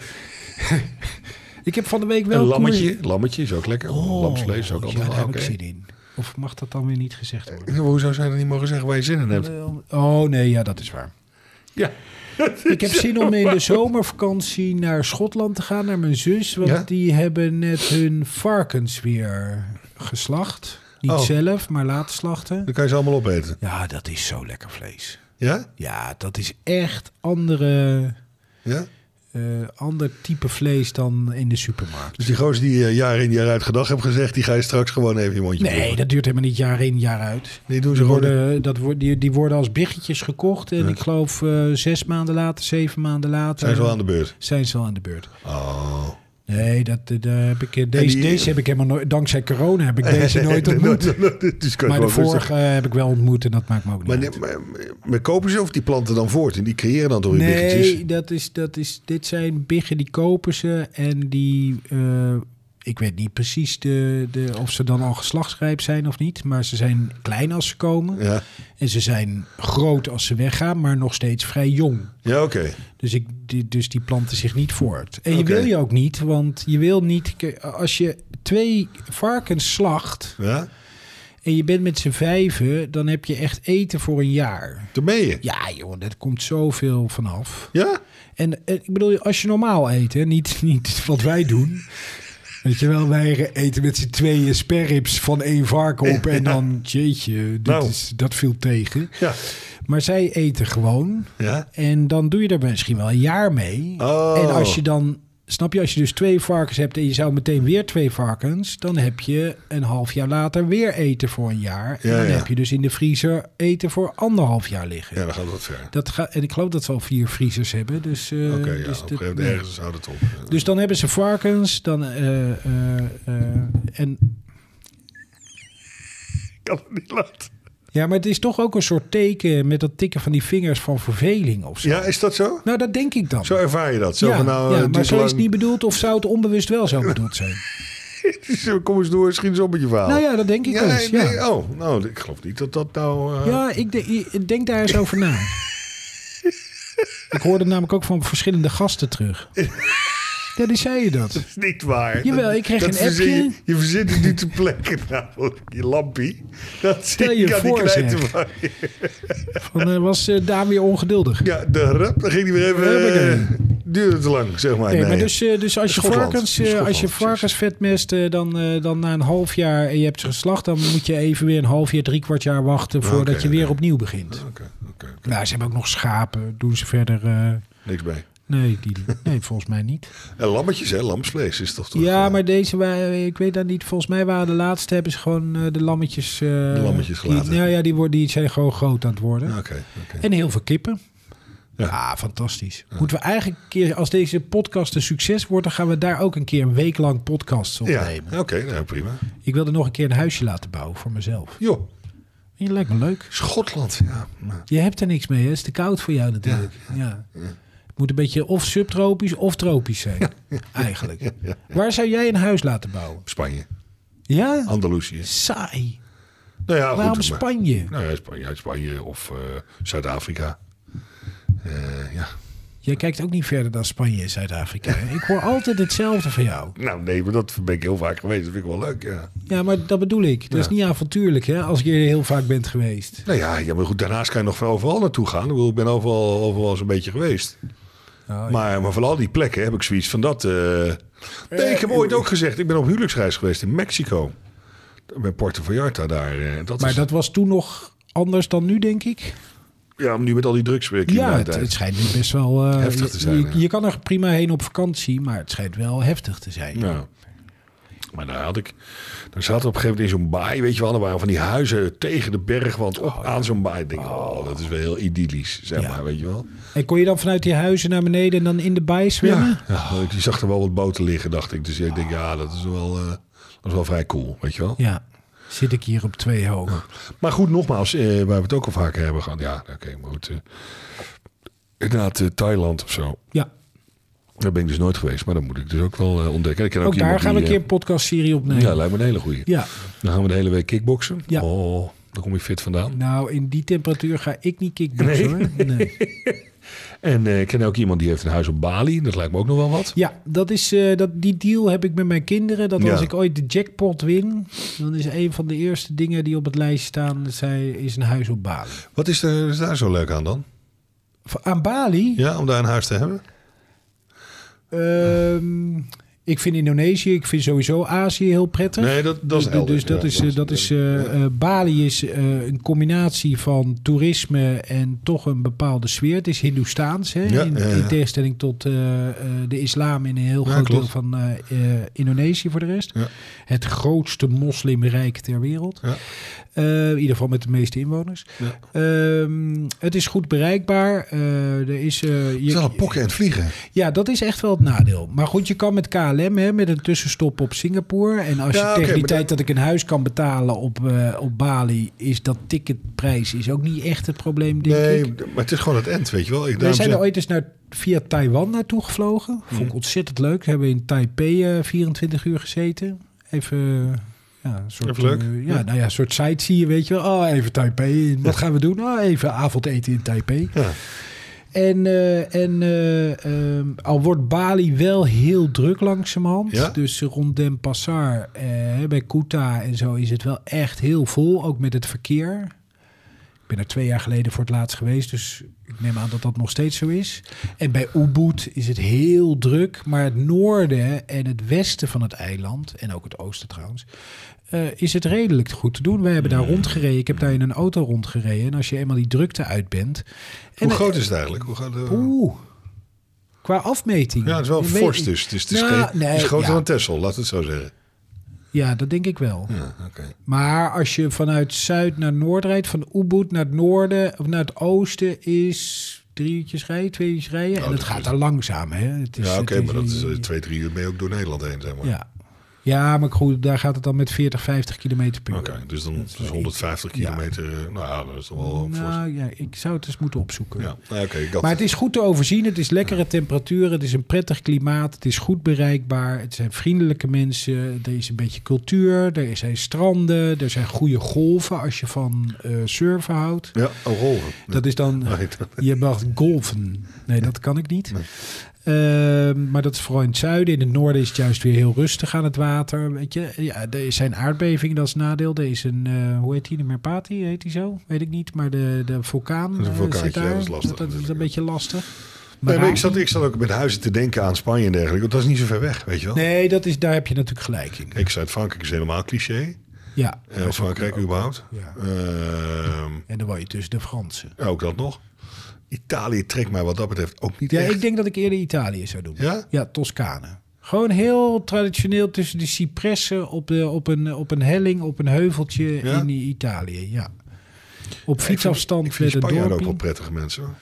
[SPEAKER 1] ik heb van de week wel...
[SPEAKER 4] Een
[SPEAKER 1] koer-
[SPEAKER 4] lammetje. Lammetje is ook lekker.
[SPEAKER 1] Oh,
[SPEAKER 4] Lamsvlees is ook
[SPEAKER 1] ja,
[SPEAKER 4] allemaal.
[SPEAKER 1] daar heb
[SPEAKER 4] oké.
[SPEAKER 1] ik zin in. Of mag dat dan weer niet gezegd worden?
[SPEAKER 4] Ja, maar Hoezo zou je dat niet mogen zeggen waar je zin in hebt?
[SPEAKER 1] Oh nee, ja, dat is waar.
[SPEAKER 4] Ja.
[SPEAKER 1] Ik heb zin om in de zomervakantie naar Schotland te gaan, naar mijn zus. Want
[SPEAKER 4] Ja?
[SPEAKER 1] die hebben net hun varkens weer geslacht. Niet
[SPEAKER 4] Oh.
[SPEAKER 1] zelf, maar laten slachten.
[SPEAKER 4] Dan kan je ze allemaal opeten.
[SPEAKER 1] Ja, dat is zo lekker vlees.
[SPEAKER 4] Ja?
[SPEAKER 1] Ja, dat is echt andere,
[SPEAKER 4] Ja?
[SPEAKER 1] eh, ander type vlees dan in de supermarkt.
[SPEAKER 4] Dus die gozer die je jaar in jaar uit gedag hebt gezegd, die ga je straks gewoon even je mondje
[SPEAKER 1] Nee,
[SPEAKER 4] proeven.
[SPEAKER 1] dat duurt helemaal niet jaar in, jaar uit.
[SPEAKER 4] Die doen ze
[SPEAKER 1] Die
[SPEAKER 4] gewoon.
[SPEAKER 1] worden, eh, dat wordt, die, die worden als biggetjes gekocht. En ik geloof eh, zes maanden later, zeven maanden later...
[SPEAKER 4] Zijn ze wel aan de beurt?
[SPEAKER 1] zijn ze al aan de beurt.
[SPEAKER 4] Oh.
[SPEAKER 1] Nee, dat, eh, daar heb ik, eh, deze,
[SPEAKER 4] die-
[SPEAKER 1] deze heb ik helemaal nooit... Dankzij corona heb ik deze nooit ontmoet.
[SPEAKER 4] dus kan je
[SPEAKER 1] Maar de
[SPEAKER 4] gewoon rustig-
[SPEAKER 1] vorige eh, heb ik wel ontmoet en dat maakt me ook niet
[SPEAKER 4] Maar,
[SPEAKER 1] uit.
[SPEAKER 4] die- maar, maar- maar kopen ze of die planten dan voort? En die creëren dan door je biggetjes?
[SPEAKER 1] Nee, dat is, dat is, dit zijn biggen die kopen ze en die... eh, ik weet niet precies de, de, of ze dan al geslachtsrijp zijn of niet. Maar ze zijn klein als ze komen.
[SPEAKER 4] Ja,
[SPEAKER 1] En ze zijn groot als ze weggaan, maar nog steeds vrij jong.
[SPEAKER 4] ja oké.
[SPEAKER 1] Dus, ik, die, dus die planten zich niet voort. En je
[SPEAKER 4] Oké.
[SPEAKER 1] wil je ook niet, want je wil niet... k- Als je twee varkens slacht
[SPEAKER 4] Ja?
[SPEAKER 1] en je bent met z'n vijven... dan heb je echt eten voor een jaar.
[SPEAKER 4] Daar ben je.
[SPEAKER 1] Ja, joh, dat komt zoveel vanaf.
[SPEAKER 4] Ja?
[SPEAKER 1] En eh, ik bedoel, als je normaal eet, hè, niet, niet wat wij doen... Weet je wel, wij eten met z'n tweeën sperrips van één varken op... en dan, jeetje, dit
[SPEAKER 4] Nou.
[SPEAKER 1] is, dat viel tegen.
[SPEAKER 4] Ja.
[SPEAKER 1] Maar zij eten gewoon...
[SPEAKER 4] Ja?
[SPEAKER 1] En dan doe je er misschien wel een jaar mee.
[SPEAKER 4] Oh.
[SPEAKER 1] En als je dan, snap je, als je dus twee varkens hebt en je zou meteen weer twee varkens, dan heb je een half jaar later weer eten voor een jaar. En
[SPEAKER 4] Ja,
[SPEAKER 1] dan
[SPEAKER 4] ja.
[SPEAKER 1] heb je dus in de vriezer eten voor anderhalf jaar liggen.
[SPEAKER 4] Ja, dan gaat dat ver.
[SPEAKER 1] Dat ga, en ik geloof dat ze al vier vriezers hebben. Dus, eh,
[SPEAKER 4] Oké, ja.
[SPEAKER 1] dus
[SPEAKER 4] op
[SPEAKER 1] dat-
[SPEAKER 4] een gegeven moment ergens houdt het op.
[SPEAKER 1] dus dan hebben ze varkens, dan eh, eh, eh, en
[SPEAKER 4] Ik kan het niet laten.
[SPEAKER 1] ja, maar het is toch ook een soort teken met dat tikken van die vingers van verveling of zo.
[SPEAKER 4] Ja, is dat zo?
[SPEAKER 1] Nou, dat denk ik dan.
[SPEAKER 4] Zo ervaar je dat. Zo van nou,
[SPEAKER 1] ja,
[SPEAKER 4] eh,
[SPEAKER 1] maar
[SPEAKER 4] duurt
[SPEAKER 1] zo is
[SPEAKER 4] lang. Oh.
[SPEAKER 1] het niet bedoeld of zou het onbewust wel zo bedoeld zijn?
[SPEAKER 4] Kom eens door, schiet eens op met je verhaal.
[SPEAKER 1] Nou ja, dat denk ik wel eens,
[SPEAKER 4] nee,
[SPEAKER 1] ja.
[SPEAKER 4] nee, Oh, nou, ik geloof niet dat dat nou... eh,
[SPEAKER 1] Ja, ik, de- ik denk daar eens over na. ik hoorde namelijk ook van verschillende gasten terug. Ja, die zei je dat.
[SPEAKER 4] Dat is niet waar.
[SPEAKER 1] Jawel,
[SPEAKER 4] Dat-
[SPEAKER 1] ik kreeg
[SPEAKER 4] dat
[SPEAKER 1] een appje.
[SPEAKER 4] verzin Je, je verzint het niet te plekken, namelijk. Je lampie. Dat
[SPEAKER 1] Stel je
[SPEAKER 4] kan
[SPEAKER 1] voor,
[SPEAKER 4] niet kwijt
[SPEAKER 1] zeg.
[SPEAKER 4] te maken.
[SPEAKER 1] Van, eh, was eh Daan weer ongeduldig?
[SPEAKER 4] Ja, de rap, dan ging hij weer even... eh, duurde te lang, zeg maar.
[SPEAKER 1] Nee,
[SPEAKER 4] Nee,
[SPEAKER 1] maar dus, eh, dus als je
[SPEAKER 4] Schotland.
[SPEAKER 1] varkens, eh,
[SPEAKER 4] Schotland,
[SPEAKER 1] als je
[SPEAKER 4] precies.
[SPEAKER 1] varkens vetmest, eh, dan, eh, dan na een half jaar en je hebt ze geslacht, dan moet je even weer een half jaar, drie kwart jaar wachten voordat
[SPEAKER 4] Oké,
[SPEAKER 1] je weer
[SPEAKER 4] oké.
[SPEAKER 1] opnieuw begint.
[SPEAKER 4] Oké, oké.
[SPEAKER 1] Nou, ze hebben ook nog schapen. Doen ze verder? eh,
[SPEAKER 4] Niks bij.
[SPEAKER 1] nee, die, nee, volgens mij niet.
[SPEAKER 4] En lammetjes, hè? Lamsvlees is toch toch...
[SPEAKER 1] Ja,
[SPEAKER 4] eh,
[SPEAKER 1] maar deze, waren- ik weet dat niet. Volgens mij waren de laatste hebben ze gewoon eh, de lammetjes. eh de
[SPEAKER 4] lammetjes
[SPEAKER 1] Die,
[SPEAKER 4] gelaten.
[SPEAKER 1] nou ja, die, worden, die zijn gewoon groot aan het worden.
[SPEAKER 4] Oké, oké.
[SPEAKER 1] En heel veel kippen.
[SPEAKER 4] Ja.
[SPEAKER 1] Ja, fantastisch. Moeten we eigenlijk een keer, als deze podcast een succes wordt, dan gaan we daar ook een keer een week lang podcasts
[SPEAKER 4] Ja,
[SPEAKER 1] opnemen.
[SPEAKER 4] oké, nou prima.
[SPEAKER 1] Ik wilde nog een keer een huisje laten bouwen voor mezelf.
[SPEAKER 4] Joh,
[SPEAKER 1] Je lijkt me leuk.
[SPEAKER 4] Schotland. Ja, maar-
[SPEAKER 1] Je hebt er niks mee, hè? Het is te koud voor jou natuurlijk. Ja. Het moet een beetje of subtropisch of tropisch zijn. Eigenlijk. Waar zou jij een huis laten bouwen?
[SPEAKER 4] Spanje,
[SPEAKER 1] Ja?
[SPEAKER 4] Andalusië.
[SPEAKER 1] Saai.
[SPEAKER 4] Nou ja,
[SPEAKER 1] Waarom
[SPEAKER 4] goed, maar-
[SPEAKER 1] Spanje?
[SPEAKER 4] Nou ja, Spanje, uit Spanje of eh, Zuid-Afrika. Eh, ja.
[SPEAKER 1] Jij kijkt ook niet verder dan Spanje en Zuid-Afrika. hè? Ik hoor altijd hetzelfde van jou.
[SPEAKER 4] Nou nee, maar dat ben ik heel vaak geweest. Dat vind ik wel leuk, ja.
[SPEAKER 1] Ja, maar dat bedoel ik. Dat is niet avontuurlijk, hè? Als je er heel vaak bent geweest.
[SPEAKER 4] Nou ja, ja, maar goed, daarnaast kan je nog van overal naartoe gaan. Ik, bedoel, ik ben overal, overal eens een beetje geweest.
[SPEAKER 1] Oh,
[SPEAKER 4] maar, maar van al die plekken heb ik zoiets van dat... eh, Nee, ik heb ooit ook gezegd, ik ben op huwelijksreis geweest in Mexico. Bij Puerto Vallarta daar. eh, Dat
[SPEAKER 1] Maar
[SPEAKER 4] is,
[SPEAKER 1] dat was toen nog anders dan nu, denk ik.
[SPEAKER 4] Ja, nu met al die drugs weer.
[SPEAKER 1] Ja, het, het schijnt nu best wel... eh,
[SPEAKER 4] Heftig te zijn,
[SPEAKER 1] Je,
[SPEAKER 4] ja.
[SPEAKER 1] je kan er prima heen op vakantie, maar het schijnt wel heftig te zijn.
[SPEAKER 4] Ja. Maar daar had ik. Daar zaten we op een gegeven moment in zo'n baai. Weet je wel, er waren van die huizen tegen de bergwand op aan zo'n baai. Ik denk, oh, dat is wel heel idyllisch, zeg
[SPEAKER 1] Ja.
[SPEAKER 4] maar, weet je wel.
[SPEAKER 1] En kon je dan vanuit die huizen naar beneden en dan in de baai zwemmen?
[SPEAKER 4] Ja, ik zag er wel wat boten liggen, dacht ik. Dus ik denk, ja, dat is wel, eh, dat is wel vrij cool, weet je wel.
[SPEAKER 1] Ja. Zit ik hier op twee hoog.
[SPEAKER 4] Maar goed, nogmaals, eh, waar we het ook al vaker hebben gehad. Ja, oké, maar goed. eh, inderdaad, eh, Thailand of zo.
[SPEAKER 1] Ja.
[SPEAKER 4] Daar ben ik dus nooit geweest, maar dat moet ik dus ook wel eh, ontdekken. Ik ken
[SPEAKER 1] Ook daar
[SPEAKER 4] iemand
[SPEAKER 1] gaan we een
[SPEAKER 4] die,
[SPEAKER 1] keer
[SPEAKER 4] eh,
[SPEAKER 1] een podcastserie opnemen.
[SPEAKER 4] Ja, lijkt me een hele goeie.
[SPEAKER 1] Ja.
[SPEAKER 4] Dan gaan we de hele week kickboksen.
[SPEAKER 1] Ja.
[SPEAKER 4] Oh, dan kom ik fit vandaan.
[SPEAKER 1] Nou, in die temperatuur ga ik niet kickboxen hoor. Nee.
[SPEAKER 4] En eh, ik ken ook iemand die heeft een huis op Bali. Dat lijkt me ook nog wel wat.
[SPEAKER 1] Ja, dat is, eh, dat, die deal heb ik met mijn kinderen. Dat
[SPEAKER 4] Ja.
[SPEAKER 1] als ik ooit de jackpot win, dan is een van de eerste dingen die op het lijstje staan, dat zij, is een huis op Bali.
[SPEAKER 4] Wat is, er, is daar zo leuk aan dan?
[SPEAKER 1] Voor- Aan Bali?
[SPEAKER 4] Ja, om daar een huis te hebben?
[SPEAKER 1] Ehm, ik vind Indonesië, ik vind sowieso Azië heel prettig.
[SPEAKER 4] Nee, dat, dat is
[SPEAKER 1] dus, dus
[SPEAKER 4] elders.
[SPEAKER 1] dat
[SPEAKER 4] Ja,
[SPEAKER 1] is, eh, dat is eh, eh, Bali is eh, een combinatie van toerisme en toch een bepaalde sfeer. Het is Hindoestaans, hè?
[SPEAKER 4] Ja,
[SPEAKER 1] in,
[SPEAKER 4] ja, ja.
[SPEAKER 1] in tegenstelling tot eh, eh, de islam in een heel
[SPEAKER 4] Ja,
[SPEAKER 1] groot
[SPEAKER 4] klopt.
[SPEAKER 1] deel van eh, eh, Indonesië voor de rest.
[SPEAKER 4] Ja.
[SPEAKER 1] Het grootste moslimrijk ter wereld.
[SPEAKER 4] Ja.
[SPEAKER 1] Eh, in ieder geval met de meeste inwoners.
[SPEAKER 4] Ja.
[SPEAKER 1] Ehm, het is goed bereikbaar. Eh, er is, eh,
[SPEAKER 4] Het
[SPEAKER 1] je,
[SPEAKER 4] is wel een pokken en het vliegen.
[SPEAKER 1] ja, dat is echt wel het nadeel. Maar goed, je kan met KLM hè, met een tussenstop op Singapore. En als
[SPEAKER 4] Ja,
[SPEAKER 1] je
[SPEAKER 4] oké,
[SPEAKER 1] tegen die
[SPEAKER 4] maar
[SPEAKER 1] tijd
[SPEAKER 4] dat-
[SPEAKER 1] dat... ik een huis kan betalen op, eh, op Bali, is dat ticketprijs is ook niet echt het probleem, denk
[SPEAKER 4] Nee,
[SPEAKER 1] ik.
[SPEAKER 4] maar het is gewoon het end, weet je wel. Ik,
[SPEAKER 1] Wij
[SPEAKER 4] daarom
[SPEAKER 1] zijn
[SPEAKER 4] zeg-
[SPEAKER 1] er ooit eens naar, via Taiwan naartoe gevlogen. Vond ik ontzettend leuk. We hebben in Taipei eh, 24 uur gezeten. Even... eh, Ja, een soort,
[SPEAKER 4] Even leuk.
[SPEAKER 1] eh, ja, nou ja, een soort sightseeing, weet je wel. Oh, even Taipei. Wat gaan we doen? Oh, even avondeten in Taipei.
[SPEAKER 4] Ja.
[SPEAKER 1] En, eh, en eh, ehm, al wordt Bali wel heel druk langzamerhand.
[SPEAKER 4] Ja?
[SPEAKER 1] Dus rond Den Passar, eh, bij Kuta en zo is het wel echt heel vol. Ook met het verkeer. Ik ben er twee jaar geleden voor het laatst geweest. Dus ik neem aan dat dat nog steeds zo is. En bij Ubud is het heel druk. Maar het noorden en het westen van het eiland... en ook het oosten trouwens... eh, is het redelijk goed te doen. Wij hebben daar rondgereden. Ik heb daar in een auto rondgereden. En als je eenmaal die drukte uit bent...
[SPEAKER 4] Hoe
[SPEAKER 1] en-
[SPEAKER 4] groot is het eigenlijk? Hoe groot, eh,
[SPEAKER 1] Oeh. Qua afmeting.
[SPEAKER 4] ja, het is wel een
[SPEAKER 1] Ik weet-
[SPEAKER 4] fors dus. Dus het is,
[SPEAKER 1] Nou,
[SPEAKER 4] geen,
[SPEAKER 1] nee,
[SPEAKER 4] het is groter
[SPEAKER 1] ja.
[SPEAKER 4] dan Texel, laat het zo zeggen.
[SPEAKER 1] Ja, dat denk ik wel.
[SPEAKER 4] Ja, oké.
[SPEAKER 1] Maar als je vanuit zuid naar noord rijdt, van Ubud naar het noorden of naar het oosten, is drie uurtjes rijden, twee uurtjes rijden. en
[SPEAKER 4] Nou, dat
[SPEAKER 1] het
[SPEAKER 4] is-
[SPEAKER 1] gaat daar langzaam, hè? Het is,
[SPEAKER 4] Ja, oké,
[SPEAKER 1] Dus het
[SPEAKER 4] maar dat is eh, twee, drie uur ben je ook door Nederland heen, zeg maar.
[SPEAKER 1] ja. ja, maar goed, daar gaat het dan met 40, 50 kilometer per uur.
[SPEAKER 4] Oké, dus dan is 150
[SPEAKER 1] Ja.
[SPEAKER 4] kilometer. eh, Nou ja, dat is toch wel een fors.
[SPEAKER 1] Nou ja, ik zou het eens moeten opzoeken.
[SPEAKER 4] Ja, nou, oké. ik had-
[SPEAKER 1] Maar het is goed te overzien. Het is lekkere temperaturen. Het is een prettig klimaat. Het is goed bereikbaar. Het zijn vriendelijke mensen. Er is een beetje cultuur. Er zijn stranden. Er zijn goede golven als je van eh, surfen houdt.
[SPEAKER 4] Ja, oh, golven.
[SPEAKER 1] Dat is dan.
[SPEAKER 4] Nee, dat-
[SPEAKER 1] Je mag golven. Nee, dat kan ik niet. Ehm, maar dat is vooral in het zuiden. In het noorden is het juist weer heel rustig aan het water. Weet je? Ja, er zijn aardbevingen, dat is een nadeel. Er is een, eh, hoe heet die, de Merpati, heet die zo? Weet ik niet. Maar de, de vulkaan
[SPEAKER 4] Een
[SPEAKER 1] eh,
[SPEAKER 4] vulkaantje,
[SPEAKER 1] zit daar.
[SPEAKER 4] ja, dat is lastig
[SPEAKER 1] Dat, dat is een
[SPEAKER 4] natuurlijk,
[SPEAKER 1] beetje lastig.
[SPEAKER 4] Nee, maar ik,
[SPEAKER 1] Merapi?
[SPEAKER 4] zat, ik zat ook met huizen te denken aan Spanje en dergelijke. Want dat is niet zo ver weg, weet je wel.
[SPEAKER 1] Nee, dat is, daar heb je natuurlijk gelijk in.
[SPEAKER 4] Kijk, Zuid-Frankrijk is helemaal cliché.
[SPEAKER 1] Ja.
[SPEAKER 4] Eh, Frankrijk überhaupt.
[SPEAKER 1] Ja.
[SPEAKER 4] Ehm,
[SPEAKER 1] En dan woon je tussen de Fransen.
[SPEAKER 4] ook dat nog. Italië trekt mij wat dat betreft ook niet
[SPEAKER 1] Ja,
[SPEAKER 4] echt.
[SPEAKER 1] ik denk dat ik eerder Italië zou doen.
[SPEAKER 4] Ja?
[SPEAKER 1] Toscane. Gewoon heel traditioneel tussen de cipressen op, de, op, een, op een helling, op een heuveltje
[SPEAKER 4] Ja?
[SPEAKER 1] in eh, Italië. Ja. Op
[SPEAKER 4] Ik vind-
[SPEAKER 1] fietsafstand
[SPEAKER 4] Ik vind
[SPEAKER 1] met een
[SPEAKER 4] Spanjaarden ook
[SPEAKER 1] dorpje.
[SPEAKER 4] wel prettige mensen. hoor.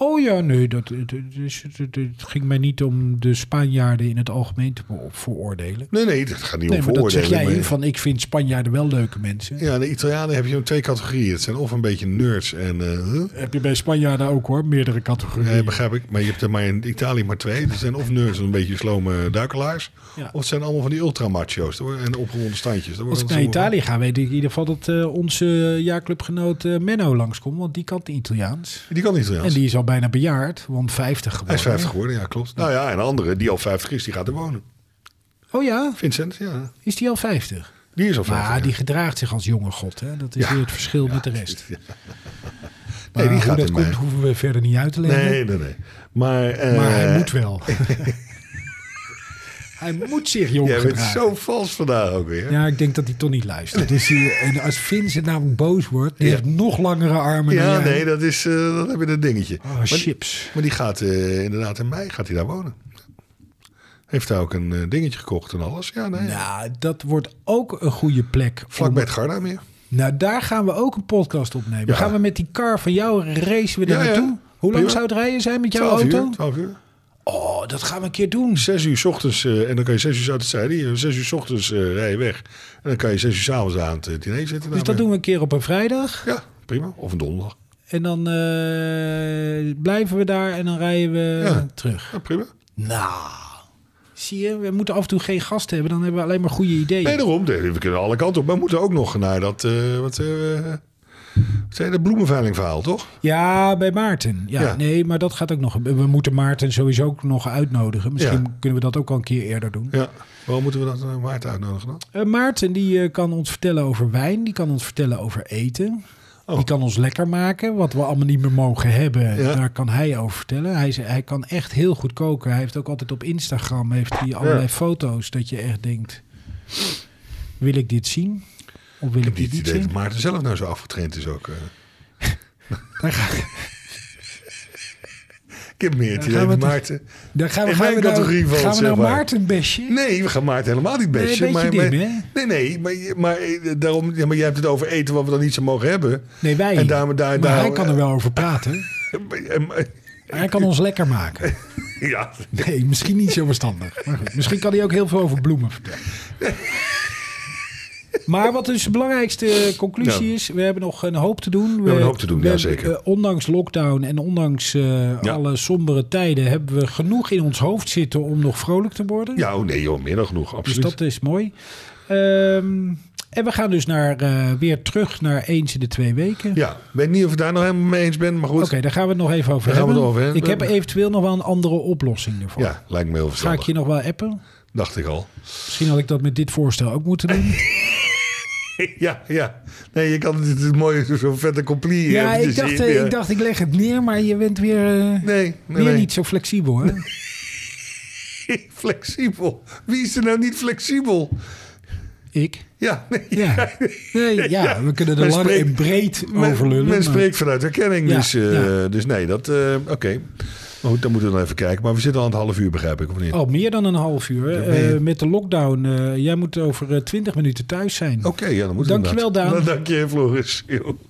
[SPEAKER 1] Oh ja, nee, dat, het, het is- het- het- het ging mij niet om de Spanjaarden in het algemeen te beo- veroordelen.
[SPEAKER 4] Nee, nee, dat gaat niet
[SPEAKER 1] Nee,
[SPEAKER 4] om
[SPEAKER 1] maar dat zeg
[SPEAKER 4] veroordeling.
[SPEAKER 1] jij
[SPEAKER 4] maar-
[SPEAKER 1] van ik vind Spanjaarden wel leuke mensen.
[SPEAKER 4] Ja, de Italianen heb je in twee categorieën. Het zijn of een beetje nerds en... eh, huh?
[SPEAKER 1] Heb je bij Spanjaarden ook hoor, meerdere categorieën.
[SPEAKER 4] Nee, begrijp ik. Maar je hebt er maar in Italië maar twee. Dat zijn of nerds en een beetje slome duikelaars.
[SPEAKER 1] Ja.
[SPEAKER 4] Of het zijn allemaal van die ultramacho's. daar worden- En opgewonden standjes. Daar
[SPEAKER 1] Als
[SPEAKER 4] worden
[SPEAKER 1] ik
[SPEAKER 4] ze
[SPEAKER 1] naar
[SPEAKER 4] allemaal-
[SPEAKER 1] Italië ga, weet ik in ieder geval dat eh, onze jaarclubgenoot eh, Menno langskomt. Want die kan het Italiaans.
[SPEAKER 4] Die kan Italiaans.
[SPEAKER 1] En die is al bijna bejaard, want 50 geworden.
[SPEAKER 4] Hij is 50 geworden, ja, klopt. Nou ja, en een andere die al 50 is, die gaat er wonen.
[SPEAKER 1] Oh ja,
[SPEAKER 4] Vincent, ja.
[SPEAKER 1] is die al 50?
[SPEAKER 4] Die is al 50.
[SPEAKER 1] Maar
[SPEAKER 4] ja.
[SPEAKER 1] die gedraagt zich als jonge god. Hè? Dat is
[SPEAKER 4] Ja.
[SPEAKER 1] weer het verschil met de rest.
[SPEAKER 4] Ja.
[SPEAKER 1] Maar
[SPEAKER 4] die
[SPEAKER 1] hoe
[SPEAKER 4] gaat
[SPEAKER 1] dat
[SPEAKER 4] in
[SPEAKER 1] komt,
[SPEAKER 4] mei.
[SPEAKER 1] hoeven we verder niet uit te leggen.
[SPEAKER 4] Nee, nee, nee. Maar, eh,
[SPEAKER 1] Maar hij moet wel. hij moet zich jong
[SPEAKER 4] Jij bent
[SPEAKER 1] gedragen.
[SPEAKER 4] zo vals vandaag ook weer.
[SPEAKER 1] Ja, ik denk dat hij toch niet luistert. Dus die- en als Vincent namelijk boos wordt, die
[SPEAKER 4] Ja.
[SPEAKER 1] heeft nog langere armen
[SPEAKER 4] Ja,
[SPEAKER 1] dan jij.
[SPEAKER 4] nee, dat is, eh, dat heb je een dingetje.
[SPEAKER 1] Oh,
[SPEAKER 4] maar,
[SPEAKER 1] chips.
[SPEAKER 4] maar die gaat eh, inderdaad in mei gaat hij daar wonen. Heeft hij ook een eh, dingetje gekocht en alles? Ja, nee.
[SPEAKER 1] Nou, dat wordt ook een goede plek.
[SPEAKER 4] Vlak
[SPEAKER 1] om-
[SPEAKER 4] bij het Garda meer.
[SPEAKER 1] Nou, daar gaan we ook een podcast opnemen.
[SPEAKER 4] Ja.
[SPEAKER 1] Gaan we met die car van jou racen we daar
[SPEAKER 4] Ja, ja.
[SPEAKER 1] naartoe? Hoe lang
[SPEAKER 4] Prima.
[SPEAKER 1] zou het rijden zijn met jouw
[SPEAKER 4] 12
[SPEAKER 1] auto?
[SPEAKER 4] uur. 12 uur.
[SPEAKER 1] Oh, dat gaan we een keer doen.
[SPEAKER 4] 6 uur 's ochtends, eh, en dan kan je 6 uur uit het zijde, 6 uur 's ochtends eh rij je weg. En dan kan je 6 uur 's avonds aan het eh, diner zitten.
[SPEAKER 1] Dus dat doen
[SPEAKER 4] daarmee.
[SPEAKER 1] we een keer op een vrijdag.
[SPEAKER 4] Ja, prima. Of een donderdag.
[SPEAKER 1] En dan eh, blijven we daar en dan rijden we
[SPEAKER 4] Ja.
[SPEAKER 1] terug.
[SPEAKER 4] Ja, prima.
[SPEAKER 1] Nou, zie je, we moeten af en toe geen gast hebben. Dan hebben we alleen maar goede ideeën.
[SPEAKER 4] Nee, daarom. Nee, We kunnen alle kanten op. Maar we moeten ook nog naar dat, eh, wat, eh wat zei je, dat bloemenveiling verhaal, toch?
[SPEAKER 1] Ja, bij Maarten. Ja,
[SPEAKER 4] Ja.
[SPEAKER 1] nee, maar dat gaat ook nog. We moeten Maarten sowieso ook nog uitnodigen. Misschien
[SPEAKER 4] Ja.
[SPEAKER 1] kunnen we dat ook al een keer eerder doen.
[SPEAKER 4] Ja. Waarom moeten we dat eh, Maarten uitnodigen dan?
[SPEAKER 1] Eh, Maarten die eh, kan ons vertellen over wijn, die kan ons vertellen over eten.
[SPEAKER 4] Oh.
[SPEAKER 1] Die kan ons lekker maken, wat we allemaal niet meer mogen hebben.
[SPEAKER 4] Ja.
[SPEAKER 1] Daar kan hij over vertellen. Hij, is- hij kan echt heel goed koken. Hij heeft ook altijd op Instagram heeft hij allerlei
[SPEAKER 4] Ja.
[SPEAKER 1] foto's dat je echt denkt... Wil ik dit zien? Of wil ik,
[SPEAKER 4] Ik heb niet
[SPEAKER 1] dit
[SPEAKER 4] het
[SPEAKER 1] niet
[SPEAKER 4] idee
[SPEAKER 1] zien?
[SPEAKER 4] dat Maarten zelf nou zo afgetraind is ook. eh. ik heb meer het
[SPEAKER 1] Dan
[SPEAKER 4] idee
[SPEAKER 1] gaan we
[SPEAKER 4] dat
[SPEAKER 1] het-
[SPEAKER 4] Maarten...
[SPEAKER 1] Dan gaan we,
[SPEAKER 4] In
[SPEAKER 1] gaan
[SPEAKER 4] mijn
[SPEAKER 1] we nou,
[SPEAKER 4] categorie valt,
[SPEAKER 1] gaan we
[SPEAKER 4] zeg
[SPEAKER 1] nou
[SPEAKER 4] maar.
[SPEAKER 1] Maarten besje?
[SPEAKER 4] Nee, we gaan Maarten helemaal niet
[SPEAKER 1] Nee,
[SPEAKER 4] bestje.
[SPEAKER 1] een beetje
[SPEAKER 4] maar,
[SPEAKER 1] dim,
[SPEAKER 4] maar- nee, nee, maar, maar, eh, daarom, ja, maar jij hebt het over eten wat we dan niet zo mogen hebben.
[SPEAKER 1] Nee, wij.
[SPEAKER 4] En daar- daar-
[SPEAKER 1] maar
[SPEAKER 4] daar-
[SPEAKER 1] hij kan er wel over praten.
[SPEAKER 4] En- en-
[SPEAKER 1] hij kan ons lekker maken.
[SPEAKER 4] Eh, Ja,
[SPEAKER 1] Nee, misschien niet zo verstandig. Maar goed, misschien kan hij ook heel veel over bloemen vertellen. Maar wat dus de belangrijkste conclusie
[SPEAKER 4] Ja.
[SPEAKER 1] is, we hebben nog een hoop te doen. We,
[SPEAKER 4] hebben een hoop te doen,
[SPEAKER 1] we
[SPEAKER 4] ja,
[SPEAKER 1] hebben,
[SPEAKER 4] zeker.
[SPEAKER 1] eh, ondanks lockdown en ondanks eh,
[SPEAKER 4] Ja.
[SPEAKER 1] alle sombere tijden hebben we genoeg in ons hoofd zitten om nog vrolijk te worden.
[SPEAKER 4] ja oh nee joh, meer dan genoeg,
[SPEAKER 1] dus
[SPEAKER 4] absoluut.
[SPEAKER 1] dat is mooi. Ehm, en we gaan dus naar, eh, weer terug naar eens in de twee weken.
[SPEAKER 4] Ja, ik weet niet of ik daar nog helemaal mee eens ben, maar goed.
[SPEAKER 1] Oké, daar gaan we het nog even over
[SPEAKER 4] Daar gaan we
[SPEAKER 1] hebben.
[SPEAKER 4] het over hebben.
[SPEAKER 1] ik heb eventueel nog wel een andere oplossing ervoor.
[SPEAKER 4] Ja, lijkt me heel
[SPEAKER 1] Ga ik
[SPEAKER 4] verstandig.
[SPEAKER 1] je nog wel appen?
[SPEAKER 4] Dacht ik al.
[SPEAKER 1] Misschien had ik dat met dit voorstel ook moeten doen.
[SPEAKER 4] ja, ja. Nee, je kan het, het mooie zo'n vette compli.
[SPEAKER 1] ja, ik
[SPEAKER 4] eventjes
[SPEAKER 1] dacht,
[SPEAKER 4] in,
[SPEAKER 1] eh,
[SPEAKER 4] ja.
[SPEAKER 1] ik dacht, ik leg het neer, maar je bent weer, eh,
[SPEAKER 4] Nee, nee,
[SPEAKER 1] weer
[SPEAKER 4] nee.
[SPEAKER 1] niet zo flexibel. Hè?
[SPEAKER 4] flexibel. Wie is er nou niet flexibel?
[SPEAKER 1] Ik?
[SPEAKER 4] Ja, nee.
[SPEAKER 1] Ja. Nee, ja, we kunnen er
[SPEAKER 4] Men
[SPEAKER 1] lang
[SPEAKER 4] spreekt-
[SPEAKER 1] en breed
[SPEAKER 4] Men,
[SPEAKER 1] over lullen.
[SPEAKER 4] men
[SPEAKER 1] maar-
[SPEAKER 4] spreekt vanuit herkenning,
[SPEAKER 1] Ja,
[SPEAKER 4] dus, eh,
[SPEAKER 1] ja.
[SPEAKER 4] dus nee, dat... eh, Oké. Maar goed, dan moeten we dan even kijken. Maar we zitten al aan het half uur, begrijp ik, of niet?
[SPEAKER 1] Al Oh, meer dan een half uur.
[SPEAKER 4] Ja, nee.
[SPEAKER 1] eh, met de lockdown. eh, jij moet over twintig minuten thuis zijn.
[SPEAKER 4] Oké, ja, dan moeten we
[SPEAKER 1] Dankjewel,
[SPEAKER 4] inderdaad.
[SPEAKER 1] Daan.
[SPEAKER 4] Dank je, Floris. Joh.